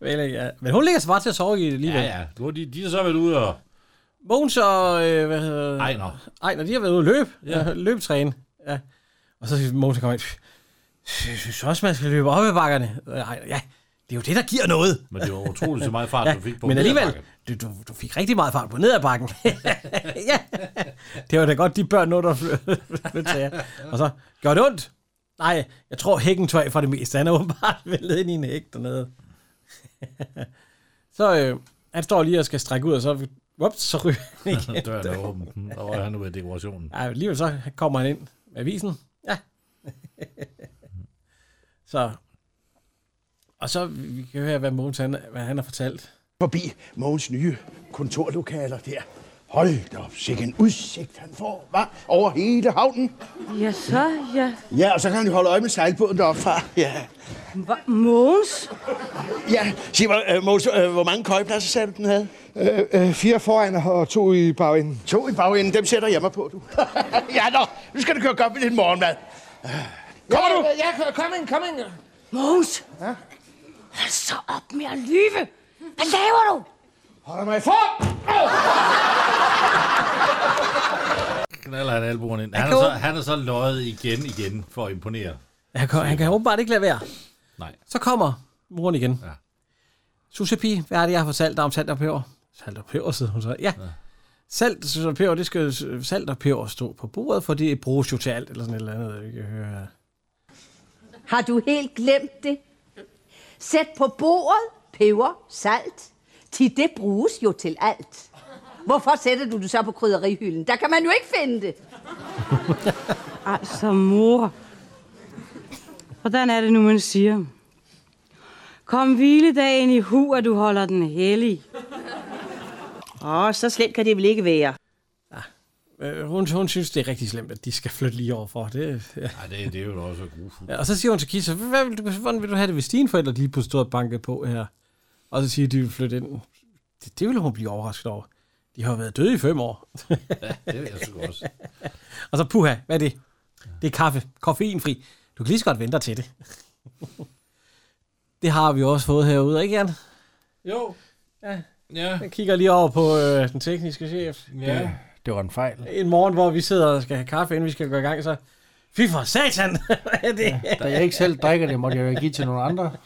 Vel, ja. Men hun ligger så bare til at sove i det alligevel. Ja, ja. Nu er de, de har så været ude og... Mogens og... Øh, hvad hedder... Ejner. Ejner, de har været ude at løbe. Ja. Ja. Øh, løbetræne. Ja. Og så siger Mogens, der kommer ind. Jeg synes også, man skal løbe op ad bakkerne. Øh, Ejner, ja, det er jo det, der giver noget. Men det var utroligt så meget fart, du fik på Men alligevel, nedadbakken. du, du, du fik rigtig meget fart på nedadbakken. ja, det var da godt, de børn nu, der flyttede til jer. Og så, gør det ondt? Nej, jeg tror hækken tog af for det meste. Han er åbenbart vældet ind i en hæk dernede. så øh, han står lige og skal strække ud, og så, ups, så ryger han igen. Døren er åben. Der var han ud af dekorationen. Ej, alligevel så kommer han ind med avisen. Ja. så. Og så, vi kan høre, hvad Mogens han, hvad han har fortalt. forbi Mogens nye kontorlokaler der. Hold da op, sikke en udsigt han får, hva? Over hele havnen. Ja, så, ja. Ja, og så kan han jo holde øje med sejlbåden deroppe fra. Ja. Hva? Mogens? Ja, sig mig, øh, Mogens, øh, hvor mange køjepladser sagde du, den havde? Øh, øh, fire foran og to i bagenden. To i bagenden, dem sætter jeg mig på, du. ja, nå, nu skal du køre godt med din morgenmad. Kommer du? Ja, kom ind, kom ind. Mogens! Ja? Hold så op med at lyve! Hvad laver du? Holder mig for! Knaller han albuen ind. Han Jeg er, så, kan- han er så løjet igen igen for at imponere. Han kan, han kan åbenbart ikke lade være. Nej. Så kommer moren igen. Ja. Susepi, hvad er det, jeg har fortalt dig om salt og peber? Salt og peber, sidder hun så. Ja. ja. Salt salt og peber, det skal salt og peber stå på bordet, for det bruges jo til alt, eller sådan et eller andet, Øh, jeg kan høre her. Har du helt glemt det? Sæt på bordet peber, salt. Til det bruges jo til alt. Hvorfor sætter du det så på krydderihylden? Der kan man jo ikke finde det. Altså, mor. Hvordan er det nu, man siger? Kom hviledagen i hu, at du holder den hellig. Åh, så slemt kan det vel ikke være. Øh, hun, hun synes, det er rigtig slemt, at de skal flytte lige overfor. Det, ja. Nej, det, det er jo da også grufuldt. Ja, og så siger hun til Kisse, hvad vil du, hvordan vil du have det, hvis dine forældre lige pludselig stod og bankede på her? Og så siger de, at de vil flytte ind. Det, det ville hun blive overrasket over. De har jo været døde i fem år. Ja, det vil jeg sgu også. og så puha, hvad er det? Det er kaffe. Koffeinfri. Du kan lige så godt vente dig til det. det har vi jo også fået herude, ikke Jan? Jo. Ja. Ja. Jeg kigger lige over på øh, den tekniske chef. Ja. Det var en fejl. En morgen, hvor vi sidder og skal have kaffe, inden vi skal gå i gang, så... Fy for satan! Hvad er det? Da jeg ikke selv drikker det, måtte jeg jo give til nogle andre.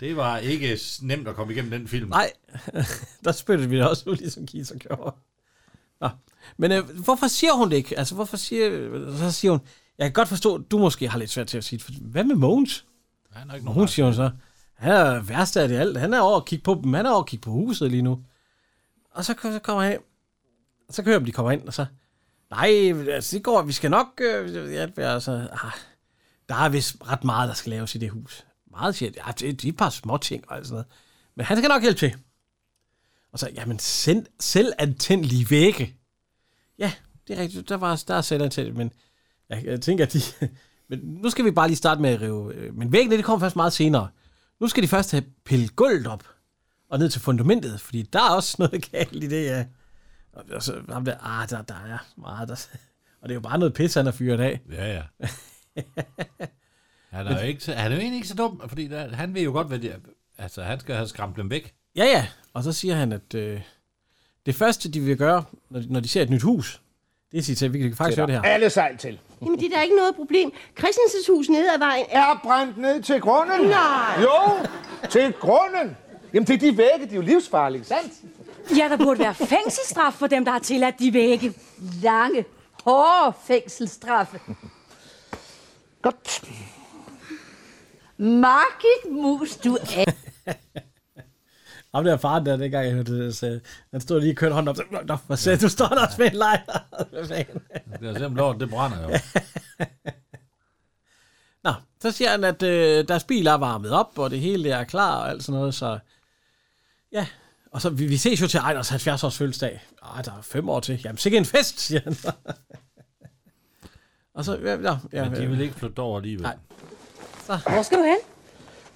Det var ikke s- nemt at komme igennem den film. Nej, der spyttede vi det også ud, ligesom Kisa gjorde. Nå. Men øh, hvorfor siger hun det ikke? Altså, hvorfor siger... Så siger hun, jeg kan godt forstå, at du måske har lidt svært til at sige det. for Hvad med Mogens? Han er ikke Og hun siger hun så, han er værst af det alt. Han er over at kigge på dem. Han er over at kigge på huset lige nu. Og så, så kommer han ind. Og så kører de kommer ind, og så... Nej, altså, det går, vi skal nok øh, hjælpe jer. Og så, ah, der er vist ret meget, der skal laves i det hus. Meget siger de, "Ah, det, det er et par små ting og alt sådan noget. Men han skal nok hjælpe til. Og så, jamen, send, selv antændelige vægge. Ja, det er rigtigt. Der, var, der er selvantændt, men jeg, jeg tænker, at de... Men nu skal vi bare lige starte med at rive... øh, Men væggene, det kommer først meget senere. Nu skal de først have pillet gulvet op og ned til fundamentet, fordi der er også noget galt i det, ja. Og, og så ham der, ah, der, der er meget, der... Og det er jo bare noget pis, han har fyret af. Ja, ja. Han er, jo ikke, så- han er jo egentlig ikke så dum, fordi der, han vil jo godt, hvad de, altså han skal have skræmt dem væk. Ja, ja. Og så siger han, at øh, det første, de vil gøre, når de, når de ser et nyt hus, det er at sige til, at vi kan faktisk høre det her. Alle sejl til. Jamen, det er da ikke noget problem. Christensens hus nede ad vejen er... er brændt ned til grunden. Nej. Jo, til grunden. Jamen, det er de vægge, de er jo livsfarlige, sandt? Ja, der burde være fængselsstraf for dem, der har tilladt de vægge. Lange, hårde fængselsstraffe. Godt. Margit Mus, du er... Ham der faren der, dengang jeg hørte det, så, han stod lige og kørte hånden op. Så, Nå, hvad sagde du? du? Står der også med en lejr? Hvad fanden? Det er selvom lort, det brænder jo. Nå, så siger han, at øh, deres bil er varmet op, og det hele er klar og alt sådan noget, så... Ja, og så vi, vi ses jo til Ejners 70-års fødselsdag. Ah, der er fem år til. Jamen, sikke en fest, siger han. og så, ja, ja, ja, Men de vil ikke flytte over alligevel. Nej. Hvor skal du hen?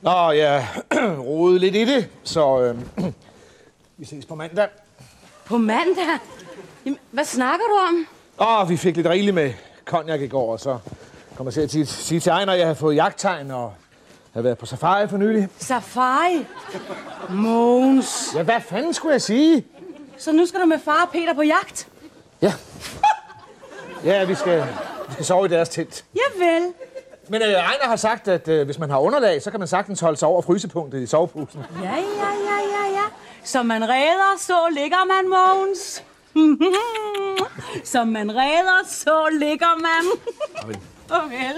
Nå, jeg rodede lidt i det, så øh, vi ses på mandag. På mandag? Jamen, hvad snakker du om? Åh, vi fik lidt rigeligt med konjak i går, og så Kommer til at sige, sige til Ejner, at jeg har fået jagttegn og har været på safari for nylig. Safari? Måns. Ja, hvad fanden skulle jeg sige? Så nu skal du med far og Peter på jagt? Ja. Ja, vi skal, vi skal sove i deres telt. Javel. Men øh, Ejner har sagt, at øh, hvis man har underlag, så kan man sagtens holde sig over frysepunktet i soveposen. Ja, ja, ja, ja, ja. Som man redder, så ligger man, Måns. Som man redder, så ligger man. Og vel.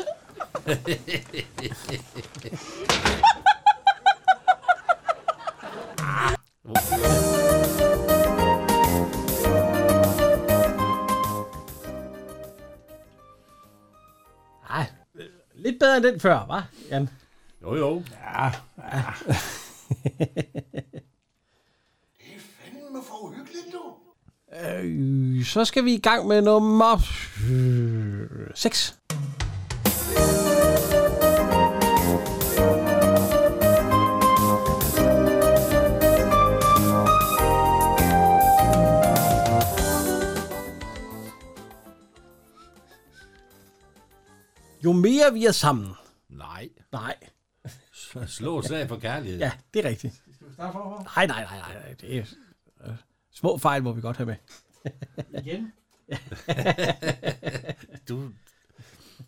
Ej, lidt bedre end den før, hva', Jan? Jo, jo. Ja. ja. Fanden for uhyggeligt, du. øh, så skal vi i gang med nummer øh, 6. Jo mere vi er sammen, Nej. Nej. Slå et slag for kærlighed. ja, det er rigtigt. Skal vi starte forfra? Nej, nej, nej, nej, nej. Det er, øh, små fejl må vi godt have med. Igen? du,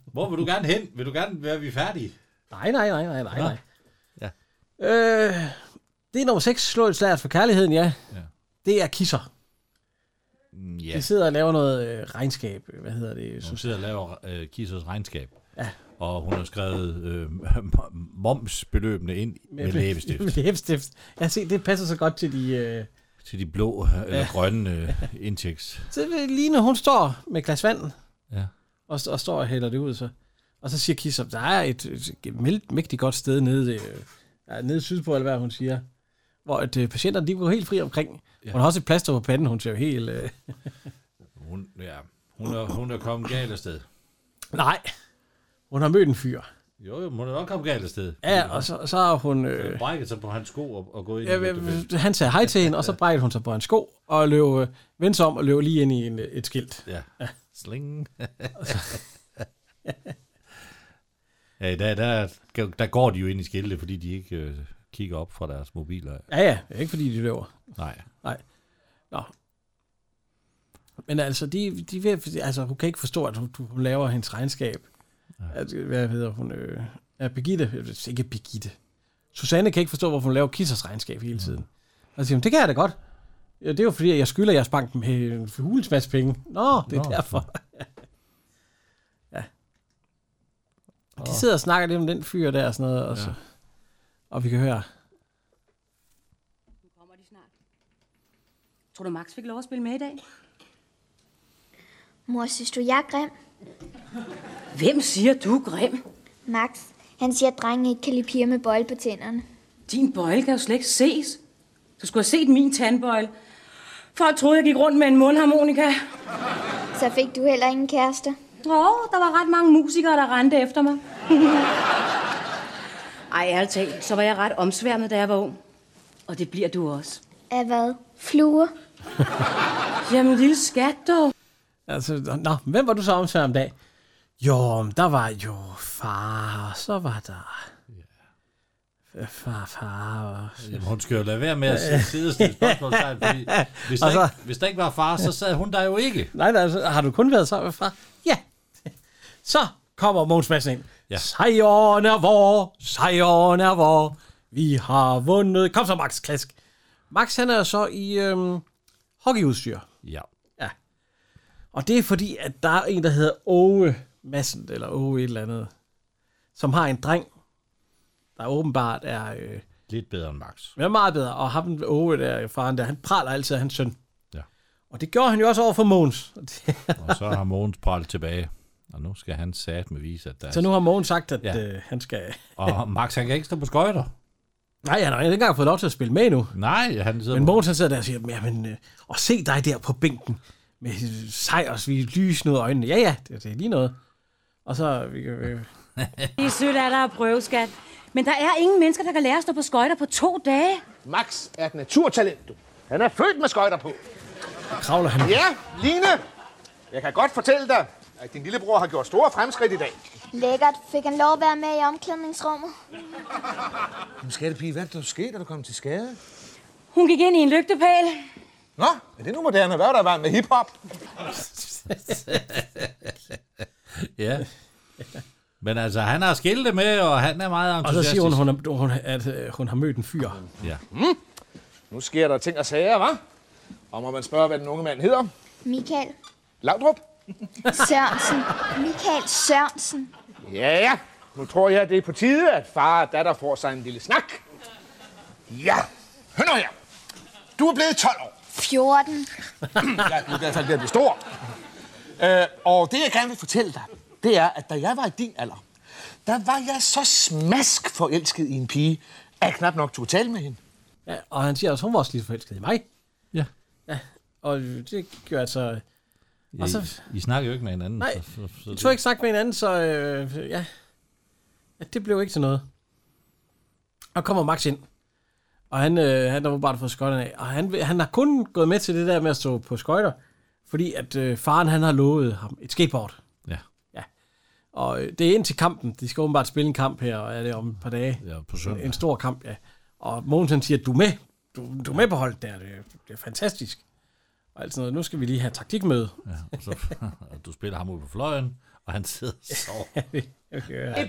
hvor vil du gerne hen? Vil du gerne være vi er færdige? Nej, nej, nej, nej, nej, Nå. nej. Ja. Øh, det er nummer 6, slå et slag for kærligheden, ja. Ja. Det er kisser. Ja. De sidder og laver noget øh, regnskab. Hvad hedder det? Hun Sus- sidder og laver øh, Kisses regnskab. Ja. Og hun har skrevet øh, momsbeløbene ind med læbestift. med læbestift. Ja, se, det passer så godt til de... Øh, Til de blå eller Ja. grønne øh, indtægts. så vil- lige når hun står med et glas vand, Ja. og, st- og står og hælder det ud, så, og så siger Kisser, der er et, et mælt- mægtigt godt sted nede, øh, ja, nede sydpå, eller hvad hun siger, hvor at, øh, patienterne de går helt fri omkring. Ja. Hun har også et plaster på panden, hun ser jo helt... Øh, Hun, ja. Hun, er, hun er kommet galt afsted. nej, hun har mødt en fyr. Jo, jo, hun er nok kommet galt afsted. Ja, og så, så har hun... Øh, Hun brækkede sig på hans sko og, og gået ind Ja, i men, lygtepælen. han sagde hej til hende, og så brækkede hun sig på en sko, og løb, øh, vendte sig om og løb lige ind i en, øh, et skilt. Ja. Sling. ja, i dag, der, der går de jo ind i skilte, fordi de ikke øh, kigger op fra deres mobiler. Ja, ja, det er ikke fordi, de løber. Nej. Nej. Nå. Men altså, de, de ved, altså, hun kan ikke forstå, at hun, hun laver hendes regnskab. At, hvad hedder hun? Øh, ja, Birgitte. Jeg ved Ikke Birgitte. Susanne kan ikke forstå, hvorfor hun laver Kissers regnskab hele tiden. Og så siger hun, det kan jeg da godt. Ja, det er jo fordi, at jeg skylder jeres bank med en hulens masse penge. Nå, det er Nå. derfor. ja. Og de sidder og snakker lidt om den fyr der og sådan noget. Og, så, og vi kan høre, Tror du, Max fik lov at spille med i dag? Mor, synes du, jeg er grim? Hvem siger, du er grim? Max, han siger, at drenge ikke kan lide piger med bøjle på tænderne. Din bøjle kan jo slet ikke ses. Du skulle have set min tandbøjle. Folk troede, jeg gik rundt med en mundharmonika. Så fik du heller ingen kæreste. Åh, der var ret mange musikere, der rendte efter mig. Ej, ærligt talt, så var jeg ret omsværmet, da jeg var ung. Og det bliver du også. Af hvad? Fluer? Jamen, lille skat, dog. Altså, nå, hvem var du så omsvær om dag? Jo, men der var jo far, og så var der... Ja. Far, far, og... Jamen, hun skal jo lade være med at sidde og stille spørgsmålstegn, fordi hvis der, Og så- ikke, hvis der ikke var far, så sad hun der jo ikke. Nej, nej, så har du kun været sammen med far? Ja. Så kommer Mogens Madsen ind. Ja. Sejren er vor, sejren er vor, vi har vundet. Kom så, Max, klask. Max, han er så i øhm, hockeyudstyr. Ja. Ja. Og det er fordi, at der er en, der hedder Åge Madsen, eller Åge et eller andet, som har en dreng, der åbenbart er... Øh, Lidt bedre end Max. men er meget bedre. Og ham, Åge der, faren der, han praler altid af hans søn. Ja. Og det gjorde han jo også over for Mogens. Og så har Mogens prallet tilbage. Og nu skal han sat med vise, at der er- så nu har Mogens sagt, at Ja. ja. øh, han skal... Og Max, han kan ikke stå på skøjter. Nej, han har ikke engang fået lov til at spille med nu. Nej, han sidder Men Mogens han sidder der og siger, jamen, øh, og se dig der på bænken med øh, sejrsvige lysende ud af øjnene. Ja, ja, det, det er lige noget. Og så... Vi kan, øh, Det er sødt af dig at prøve, skat. Men der er ingen mennesker, der kan lære at stå på skøjter på to dage. Max er et naturtalent, du. Han er født med skøjter på. kravler han Ja, Line, jeg kan godt fortælle dig, At din lillebror har gjort store fremskridt i dag. Lækkert. Fik han lov at være med i omklædningsrummet? Men skattepige, hvad er der sket, da du kom til skade? Hun gik ind i en lygtepæl. Nå, er det nu moderne? Hvad var der i vejen med hiphop? ja. Men altså, han har skilte med, og han er meget Og så entusiastisk. siger hun, hun, er- hun, at øh, hun har mødt en fyr. Ja. Mm. Nu sker der ting og sager, hva'? Og må man spørge, hvad den unge mand hedder? Michael Laudrup? Sørensen. Michael Sørensen. Ja, ja. Nu tror jeg, det er på tide, at far og datter får sig en lille snak. Ja, hør nu her. Du er blevet 12 år. 14. Ah. ja, du er i hvert fald ved at blive stor. Øh, og det, jeg gerne vil fortælle dig, det er, at da jeg var i din alder, der var jeg så smask forelsket i en pige, at jeg knap nok tog tale med hende. Ja, og han siger også, hun var også lige så forelsket i mig. Ja. ja. Og det gjorde altså... I, Og så, I snakker jo ikke med hinanden. nej, så, så, så vi tog ikke sagt med hinanden, så øh, ja. ja. Det blev ikke til noget. Og kommer Max ind. Og han, øh, han har bare fået skøjterne af. Og han, vil- han har kun gået med til det der med at stå på skøjter, fordi at øh, faren han har lovet ham et skateboard. Ja. ja. Og øh, det er ind til kampen. De skal åbenbart spille en kamp her, og er det om et par dage. Ja, på søndag. En stor kamp, ja. Og Mogens han siger, du er med. Du, du er med på holdet der. Det, er- det er fantastisk. Og alt sådan noget. Nu skal vi lige have taktikmøde. Ja, og så, og du spiller ham ud på fløjen, og han sidder og sover. okay,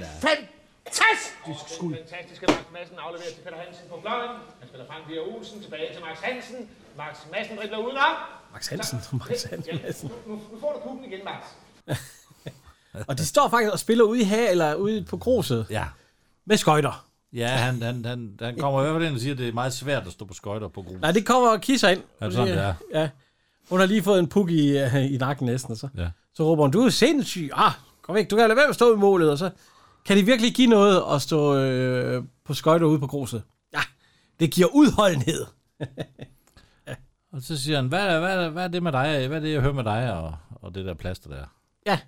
Fantastisk skud. Fantastisk, at Max Madsen afleverer til Peter Hansen på fløjen. Han spiller Frank Via Olsen tilbage til Max Hansen. Max Madsen dribler udenom. Max Hansen. Max Hansen. Madsen. Nu, nu, nu får du pukken igen, Max. Og de står faktisk og spiller ude i her, eller ude på gruset. Ja. Med skøjter. Ja, han, han, han, han kommer over den og siger, at det er meget svært at stå på skøjter på grus. Nej, det kommer og kisser ind. Er det sådan, det er? Ja. Hun har lige fået en puk i, øh, i nakken næsten, og så, Ja. så råber hun, du er sindssyg. Ah, kom væk, du kan lade være med at stå i målet, og så kan det virkelig give noget at stå øh, på skøjter ude på gruset. Ja, det giver udholdenhed. Og så siger han, hvad, hvad, hvad er det med dig? Hvad er det, jeg hører med dig og, og det der plaster der? Ja.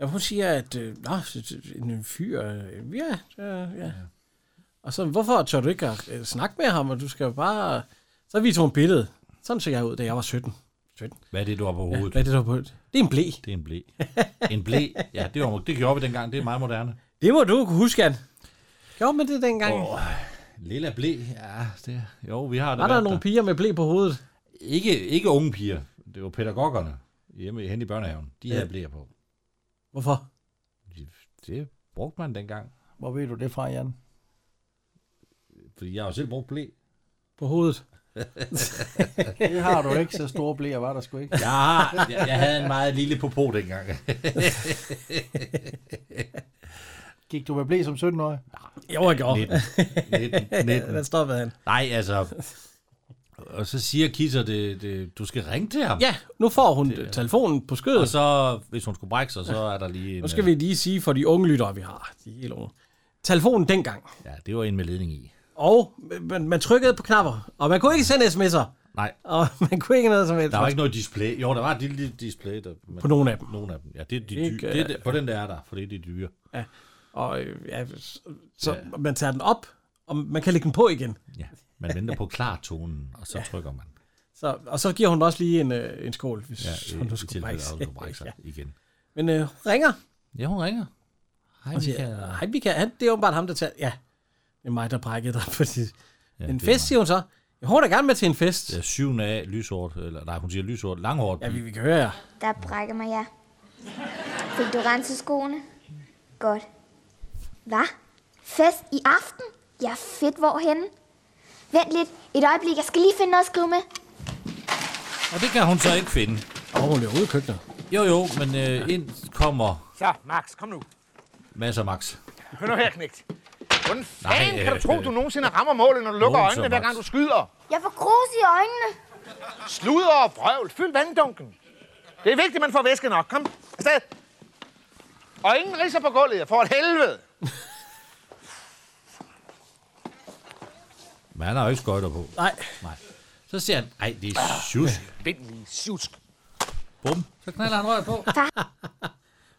ja hun siger, at øh, nå, så- så- en fyr, øh, ja, øh, ja. Og så, hvorfor tør du ikke at øh, snakke med ham, og du skal jo bare... Så viser hun billedet. Sådan så jeg ud, da jeg var 17. 17. Hvad er det, du har på Ja, hovedet? hvad er det, du har på hovedet? Det er en blæ. Det er en blæ. En blæ? Ja, det, var, det gjorde vi dengang. Det er meget moderne. Det må du kunne huske, Jan. Gjorde man det dengang? Åh, lilla blæ. Ja, det, jo, vi har det. Var der været nogle piger med blæ på hovedet? Ikke, ikke unge piger. Det var pædagogerne hjemme hen i børnehaven. De Ja. havde blæer på. Hvorfor? Det brugte man dengang. Hvor ved du det fra, Jan? Fordi jeg har jo selv brugt blæ. På hovedet. Det har du ikke, så store blæer var der sgu ikke. Jeg, har, jeg, jeg havde en meget lille popo dengang. Gik du med blæ som 17-årig? Jo, jeg gjorde. 19. 19. 19. Der stoppede han. Nej, altså... Og så siger Kisser, det, det, du skal ringe til ham. Ja, nu får hun det, telefonen på skødet. Og så, hvis hun skulle brække sig, så er der lige en... Nu skal vi lige sige for de unge lyttere, vi har. De er helt unge. Telefonen dengang. Ja, det var en med ledning i. Og man, man trykkede på knapper. Og man kunne ikke sende sms'er. Nej. Og man kunne ikke noget som helst. Der var ikke noget display. Jo, der var et lille, lille display. Der, men På nogle af dem. Nogle af dem. Ja, det er de Ikke, dyre. Det er, øh, de- på den der er der, for det er de dyre. Ja. Og øh, ja, så ja. man tager den op, og man kan lægge den på igen. Ja, man venter på klartonen, og så ja. trykker man. Så, og så giver hun også lige en, øh, en skål, hvis Ja, ja, i- hun nu i skulle tilfælde brække af, at hun skulle brække sig Ja. igen. Men øh, hun ringer. Ja, hun ringer. Hej, Og siger, Michael. Hej, Michael. Han, det er åbenbart ham, der tager... Ja, det er mig, der brækkede dig. Fordi... Ja, en det er fest, siger hun så. Jeg håber da gerne med til en fest. Det er syvende af lyshårdt, eller nej, hun siger lyshårdt, langhårdt. Ja, vi, vi kan høre jer. Der brækker mig jeg. Fik du renset skoene? Godt. Hvad? Fest i aften? Ja, fedt. Hvorhenne? Vent lidt. Et øjeblik. Jeg skal lige finde noget at skrive med. Og det kan hun så ikke finde. Og hun løber ud i køkkenet. Jo, jo, men øh, ind kommer Så, Max, kom nu. masser Max. Hør nu her, knægt. Hvordan Nej, fanden kan du øh, tro, du nogensinde rammer målet, når du lukker Mogens og øjnene, hver Max. gang du skyder? Jeg får grus i øjnene. Sluder og vrøvl. Fyld vanddunken. Det er vigtigt, at man får væske nok. Kom, afsted. Og ingen riser på gulvet. Jeg får et helvede. Men han har jo ikke skøjter på. Nej. Nej. Så siger han, nej, det er sjusk. Vindelig sjusk. Bum. Så knaller han røret på.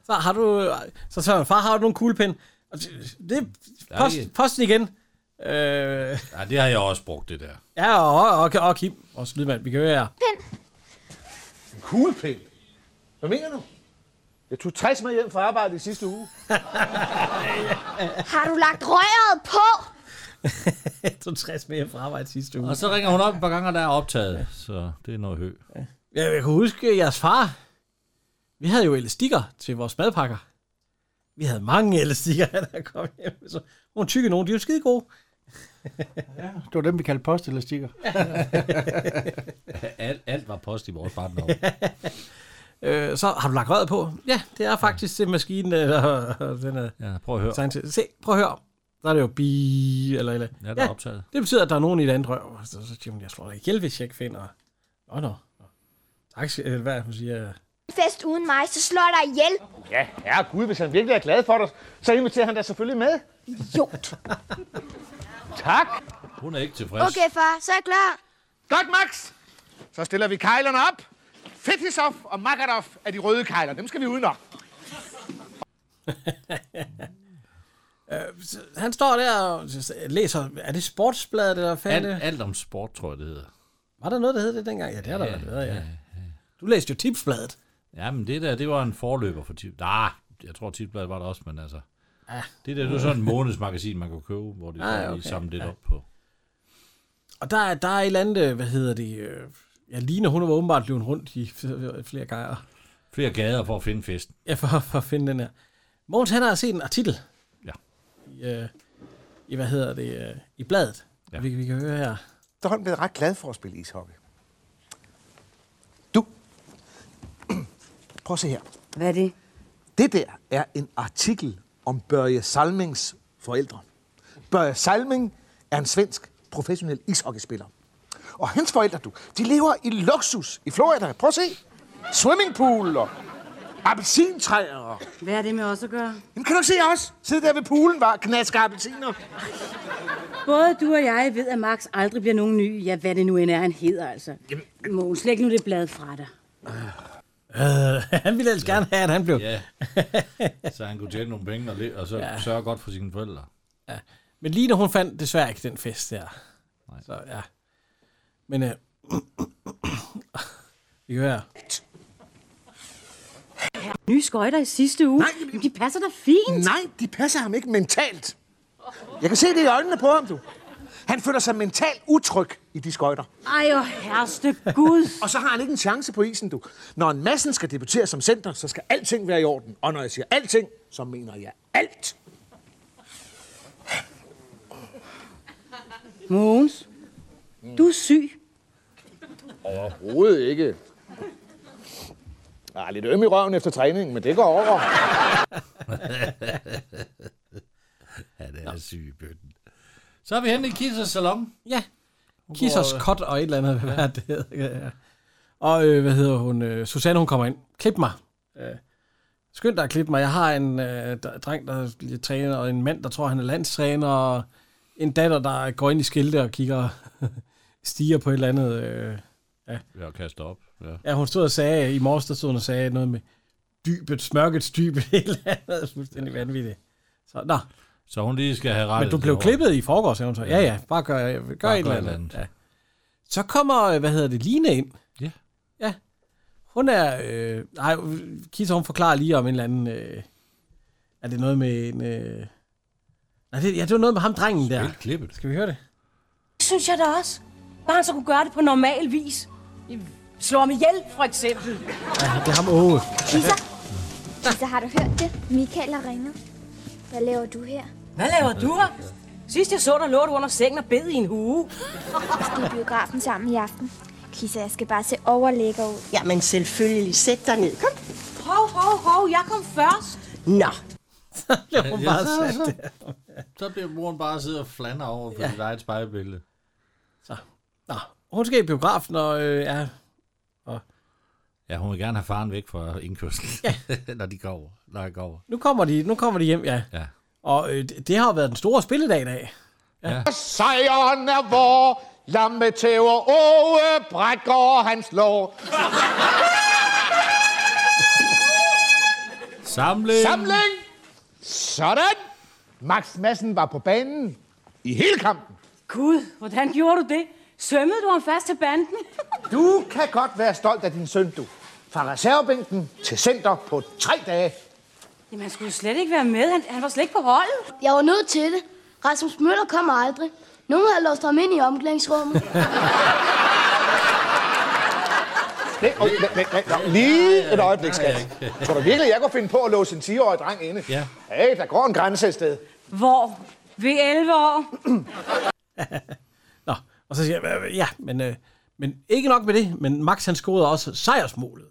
Så har du... Så spørger han, far, har du nogle kuglepind? Og det- Det Der er post, ikke- posten igen. Øh, Ja, det har jeg også brugt, det der. ja, og, og, og Kim, vores lydmand, vi kan høre jer. Kuglepind. Hvad mener du? Jeg tog 60 med hjem fra arbejde i sidste uge. Har du lagt røret på? Jeg tog 60 med hjem fra arbejde sidste uge. Og så ringer hun op et par gange, og der er optaget. Så det er noget hø. Ja, jeg kan huske jeres far. Vi havde jo elastikker til vores madpakker. Vi havde mange elastikker, der kom hjem. med. Så nogle tykke nogen, de er jo skide gode. Ja, det var dem, vi kaldte postelastikker. alt, alt var post i vores barndom. Øh, så har du lagt røret på? Ja, det er faktisk til maskinen. Eller, den er, ja, prøv at høre. Se, prøv at høre. Der er det jo bi eller eller. Ja, der er optaget. Det betyder, at der er nogen i et andet røv. Så, så siger hun, jeg slår dig ihjel, hvis jeg ikke finder. Nå, nå. Tak, siger- eller hvad er det, hun siger. En fest uden mig, så slår jeg dig ihjel. Ja, ja gud, hvis han virkelig er glad for dig, så inviterer han dig selvfølgelig med. Idiot. tak. Hun er ikke tilfreds. Okay, far, så er jeg klar. Godt, Max! Så stiller vi kejlerne op. Fetisov og Makarov er de røde kejler. Dem skal vi udenom. Øh, så han står der og læser, er det sportsbladet eller hvad fanden? Alt, er det? alt om sport, tror jeg, det hedder. Var der noget, der hed det dengang? Ja, det har der Ja, været, ja, ja. Du læste jo tipsbladet. Ja, men det der, det var en forløber for tip. Nej, jeg tror tipbladet var der også, men altså. Ja. Det der, det var sådan en månedsmagasin, man kunne købe, hvor de Ah, ah, okay. okay. samlede det Ja. op på. Og der, er- der er et eller andet, øh, hvad hedder det, øh, ja, Line, hun var åbenbart løbet rundt i f- flere gange. Flere gader for at finde festen. Ja, for, for at finde den her. Mogens, han har set en artikel. Ja. I, øh, i hvad hedder det, øh, i bladet. Ja. Vi, vi kan høre her. Der er blevet ret glad for at spille ishockey. Du. Prøv at se her. Hvad er det? Det der er en artikel om Børje Salmings forældre. Børje Salming er en svensk professionel ishockeyspiller. Og hans forældre, du, de lever i luksus i Florida. Prøv at se. Swimmingpool og appelsintræer. og- Hvad er det med os at gøre? Jamen, kan du ikke se os? Sidde der ved poolen, var knaske appelsiner. Både du og jeg ved, at Max aldrig bliver nogen ny. Ja, hvad det nu end er, han hedder altså. Mogens, læg nu det blad fra dig. Øh, han ville ellers gerne have, at han blev. Ja. Så han kunne tjene nogle penge og, le- og så Ja. ja. sørge godt for sine forældre. Men Line, hun fandt desværre ikke den fest der. Nej. Så ja. Men øh, vi kan høre. Nye skøjter i sidste uge. Nej, de passer da fint. Nej, de passer ham ikke mentalt. Jeg kan se det i øjnene på ham, du. Han føler sig mentalt utryg i de skøjter. Ej, og herreste Gud. Og så har han ikke en chance på isen, du. Når en massen skal debutere som center, så skal alting være i orden. Og når jeg siger alting, så mener jeg alt. Mogens, du er syg. Overhovedet ikke. Jeg er lidt øm i røven efter træningen, men det går over. Han er syg i bøtten. Så er vi henne i Kissers salon. Ja. Kissers går, øh, Cut og et eller andet, hvad ja. det hedder. Ja, ja. Og øh, hvad hedder hun? Øh, Susanne, hun kommer ind. Klip mig. Øh, skynd dig at klippe mig. Jeg har en øh, der- dreng, der bliver træner, og en mand, der tror, han er landstræner, og en datter, der går ind i skilte og kigger stiger på et eller andet. Øh. Ja, kaster op. Ja. Ja, hun stod og sagde, i morges der stod hun og sagde noget med dybet, smørkets dybet, et eller andet. Fuldstændig vanvittigt. Så, nå. Så hun lige skal have rettet. Men du det blev over. klippet i forgårs, sagde hun så. Ja, ja, bare gør, gør Bare et eller gør andet. et eller andet. Ja. Så kommer, øh, hvad hedder det, Line ind. Ja. Ja. Hun er, øh, nej, Kisa, hun forklarer lige om en eller anden, øh, er det noget med en, øh, nej, det, ja, det var noget med ham drengen der. Helt klippet. Skal vi høre det? Det synes jeg da også. Bare han så kunne gøre det på normal vis. I Slå ham ihjel, for eksempel. Ja, det er ham Åge. Lisa. Lisa, har du hørt det? Michael har ringet. Hvad laver du her? Hvad laver du her? Sidst jeg så dig, lå du under sengen og bed i en hue. Vi skal i biografen sammen i aften. Lisa, jeg skal bare se overlægger ud. Jamen selvfølgelig, sæt dig ned. Kom. Hov, hov, hov, jeg kom først. Nå. Ja, hun bare sat så, så, så bliver moren bare sidde og flander over for ja. dit eget spejlbillede. Nå, hun skal i biografen, og øh, ja, Ja, hun vil gerne have faren væk fra indkørslen, ja. når de går over. Når jeg går over. nu kommer de, nu kommer de hjem, ja. Ja. Og øh, det, det har jo været den store spilledag i dag. Ja. Sejren er vor. Lamme tæver Åge Brætgaard, han slår. Samling! Samling! Sådan! Max Madsen var på banen i hele kampen. Gud, hvordan gjorde du det? Svømmede du ham fast til banden? Du kan godt være stolt af din søn, du. fra reservebænken til center på tre dage. Jamen, han skulle jo slet ikke være med. Han, han var slet ikke på holdet. Jeg var nødt til det. Rasmus Møller kommer aldrig. Nogen havde låst ham ind i omklædningsrummet. Nej, okay, men, men, men, nå, lige et øjeblik, skat. Tror du virkelig, jeg kunne finde på at låse en 10-årig dreng inde? Ja. Hey, der går en grænse et sted. Hvor? Ved 11 år? Nå, og så siger jeg, "Øh, ja, men, øh, men ikke nok med det, men Max han scorede også sejrsmålet.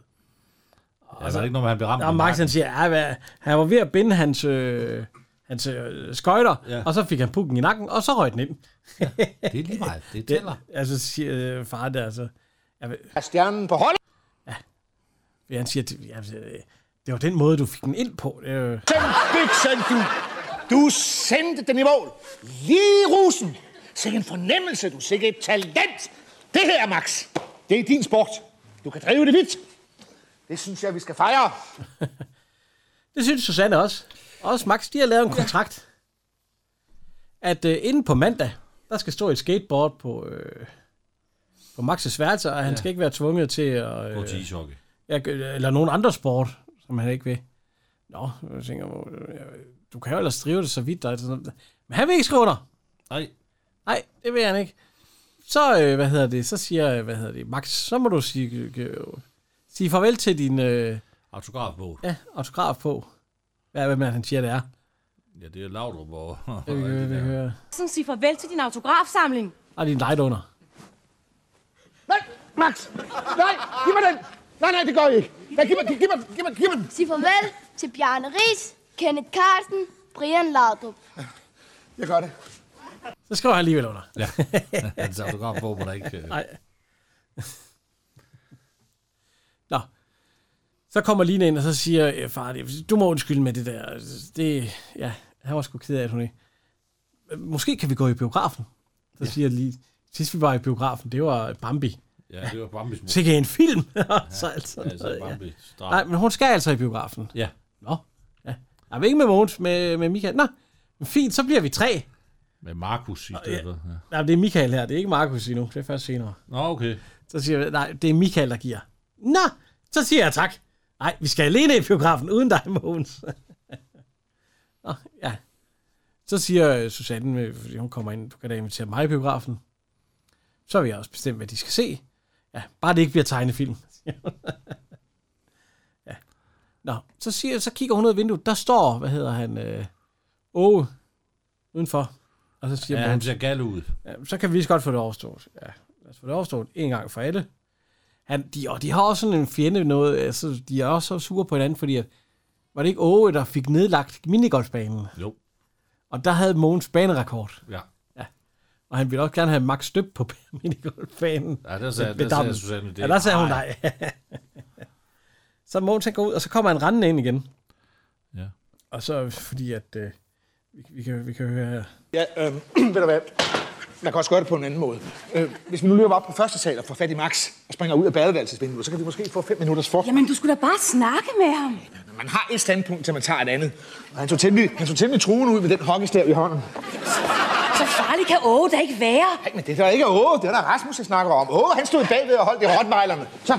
Ja, altså, var det ikke noget, med, han blev ramt Og på Max marken? han siger, ja, hvad, han var ved at binde hans, øh, hans øh, skøjter, Ja. ja. og så fik han pukken i nakken, og så røg den ind. Det er lige meget. Det tæller. Det, altså, siger øh, far der, altså. Jeg, er stjernen på holdet? Ja, han siger, det, jeg, det var den måde, du fik den ind på. Det, er jo- Den fik sendte du. Du sendte den i mål. Lige i rusen. Sikke en fornemmelse, du. Sikke et talent. Det her, Max, det er din sport. Du kan drive det vidt. Det synes jeg, vi skal fejre. det synes Susanne også. Også Max, de har lavet en kontrakt. At øh, inden på mandag, der skal stå et skateboard på, øh, på Max' værelse, og han ja. skal ikke være tvunget til at... øh, Gå til ishockey. Ja, eller nogen andre sport, som han ikke vil. Nå, jeg tænker, hvor- øh, du kan jo ellers drive det så vidt dig. Men han vil ikke skrive under. Nej. Nej, det vil han ikke. Så, øh, hvad hedder det, så siger, øh, hvad hedder det, Max, så må du sige, øh, sige farvel til din øh, Autografbog. ja, autograf på. Hvad er det, han siger, det er? Øh, Ja, det er Laudrup og... Det vil vi vil høre. Sådan sige farvel til din autografsamling. Og din light under. Nej, Max. Nej, giv mig den. Nej, nej, det gør I ikke. Nej, giv mig, giv mig, giv mig, giv mig den. Sig farvel til Bjarne Ries, Kenneth Carlsen, Brian Laudrup. Jeg gør det. Så skriver han alligevel under. Ja. Hans øh. autografbog må der ikke... øh, Nej. Nå. Så kommer Line ind, og så siger øh, far, det- du må undskylde med det der. Det, ja, han var sgu ked af, at hun ikke... Måske kan vi gå i biografen. Så ja. siger jeg lige, sidst vi var i biografen, det var Bambi. Ja, det var Bambis mor. Sikke en film. så altså, Ja, så Bambi. Drab. Nej, men hun skal altså i biografen. Ja. Nå. Ja. Jeg vil ikke med Mogens, med, med Michael. Nå, men fint, så bliver vi tre. Med Markus i stedet for. Ja. Nej, men det er Michael her. Det er ikke Markus endnu. Det er først senere. Nå, okay. Så siger jeg, nej, det er Michael, der giver. Nå, så siger jeg tak. Nej, vi skal alene i biografen, uden dig, Mogens. Nå, ja. Så siger øh, Susanne, øh, fordi hun kommer ind, du kan da invitere mig i biografen. Så vil jeg også bestemme, hvad de skal se. Ja, bare det ikke bliver tegnefilm. siger hun. ja. Nå, så, siger, så kigger hun ud af vinduet. Der står, hvad hedder han, øh, Åge, udenfor. Og så siger Ja, Mogens- han ser gal ud. Ja, Øhm, så kan vi lige så godt få det overstået. Ja, lad os få det overstået en gang for alle. Han, de, og de har også sådan en fjende noget, altså, de er også så sure på hinanden, fordi at, var det ikke Åge, der fik nedlagt minigolfbanen? Jo. Og der havde Mogens banerekord, Ja. og han ville også gerne have Max støbt på minigolfbanen. Ja, der sagde- Ved- der ved sagde dammen. Susanne, det- Ja, der sagde hun Ej. nej. så Mogens han går ud, og så kommer han rendende ind igen. Ja. Og så fordi at, øh, vi, vi, kan, vi kan høre her. Ja, øh, ved du hvad? Man kan også gøre det på en anden måde. Øh, hvis vi nu løber op på første sal og får fat i Max og springer ud af badeværelsesvinduet, så kan vi måske få fem minutters for. Jamen, du skulle da bare snakke med ham. Man har et standpunkt, til man tager et andet. Og han tog temmelig, han tog temmelig truende ud med den hockeystav i hånden. Så farlig kan Åge da ikke være. Nej, men det er da ikke Åge, det er der Rasmus, jeg snakker om. Åge, han stod bagved og holdt i rottweilerne. Så.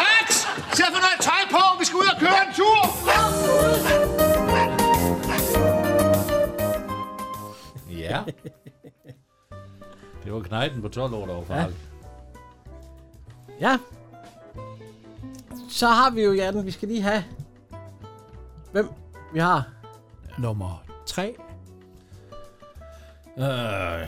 Max! Sæt for noget tøj på, vi skal ud og køre en tur! Ja. Det var knejten på 12 år, der var farlig. Ja. Så har vi jo hjerten. Vi skal lige have... Hvem vi har. Nummer 3. Øh, jeg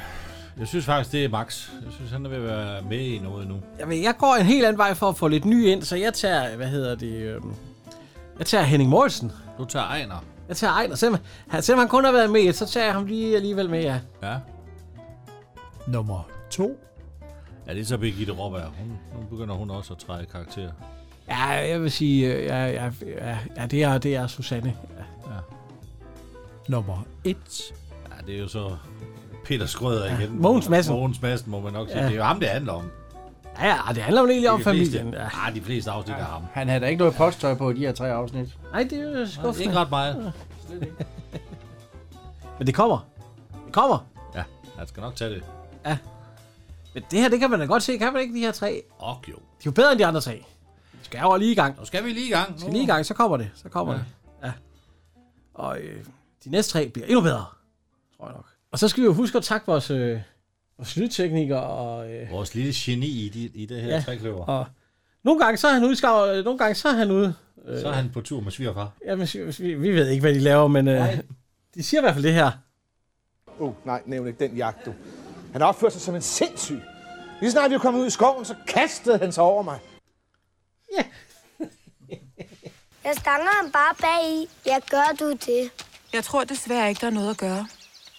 synes faktisk, det er Max. Jeg synes, han er ved at være med i noget nu. Jeg, ved, jeg går en helt anden vej for at få lidt ny ind, så jeg tager... Hvad hedder det? Øhm, jeg tager Henning Morrison. Du tager Ejner. Jeg tager Ejner. Selvom han, selvom han kun har været med, i et, så tager jeg ham lige alligevel med, ja. Ja. Nummer 2. Ja, det er så Birgitte Råberg. Hun, nu begynder hun også at træde karakter. Ja, jeg vil sige... øh, Ja, ja, ja, ja det, er, det er Susanne. Ja. Ja. Nummer 1. Ja, det er jo så Peter Skrøder ja. igen. Mogens Madsen. Mogens Madsen, må man nok sige. Ja. Ja. Det er jo ham, det handler om. Ja, ja, det handler jo egentlig om de fleste, familien. Ja. ja. de fleste afsnit er ham. Han havde da ikke noget posttøj på i de her tre afsnit. Nej, det er jo Nej, skuffende. ikke ret meget. Men det kommer. Det kommer. Ja, han skal nok tage det. Men det her, det kan man da godt se. Kan man ikke de her tre? Og jo. De er jo bedre end de andre tre. skal jeg jo lige i gang. Nu skal vi lige i gang. Skal lige i gang, så kommer det. Så kommer ja. det. Ja. Og øh, de næste tre bliver endnu bedre. Tror jeg nok. Og så skal vi jo huske at takke vores, øh, vores lydtekniker og... Øh, Vores lille geni i, de, i det her ja. trækløver. og nogle gange så er han ude, i skarv- øh, nogle gange så er han ude. Øh, Så er han på tur med svigerfar. Jamen, vi, vi ved ikke, hvad de laver, men øh, de siger i hvert fald det her. Uh, nej, nævn ikke den jagt, du. Han opførte sig som en sindssyg. Lige snart vi var kommet ud i skoven, så kastede han sig over mig. Jeg stanger ham bare bag i. Jeg gør du det. Jeg tror desværre ikke, der er noget at gøre.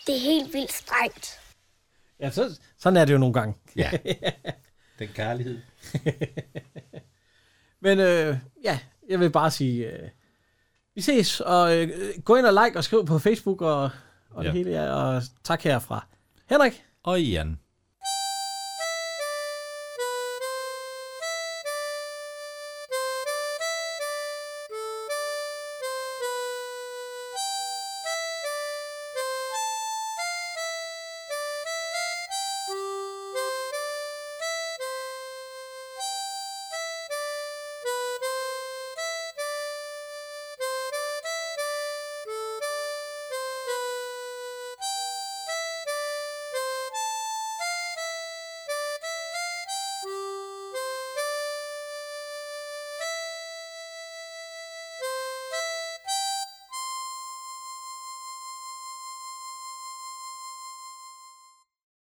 Det er helt vildt strengt. Ja, så, sådan er det jo nogle gange. Ja. Den kærlighed. Men øh, ja, jeg vil bare sige, øh, vi ses, og øh, gå ind og like og skriv på Facebook og, Ja. og ja. det hele, ja, og tak herfra. Henrik. Og Jan.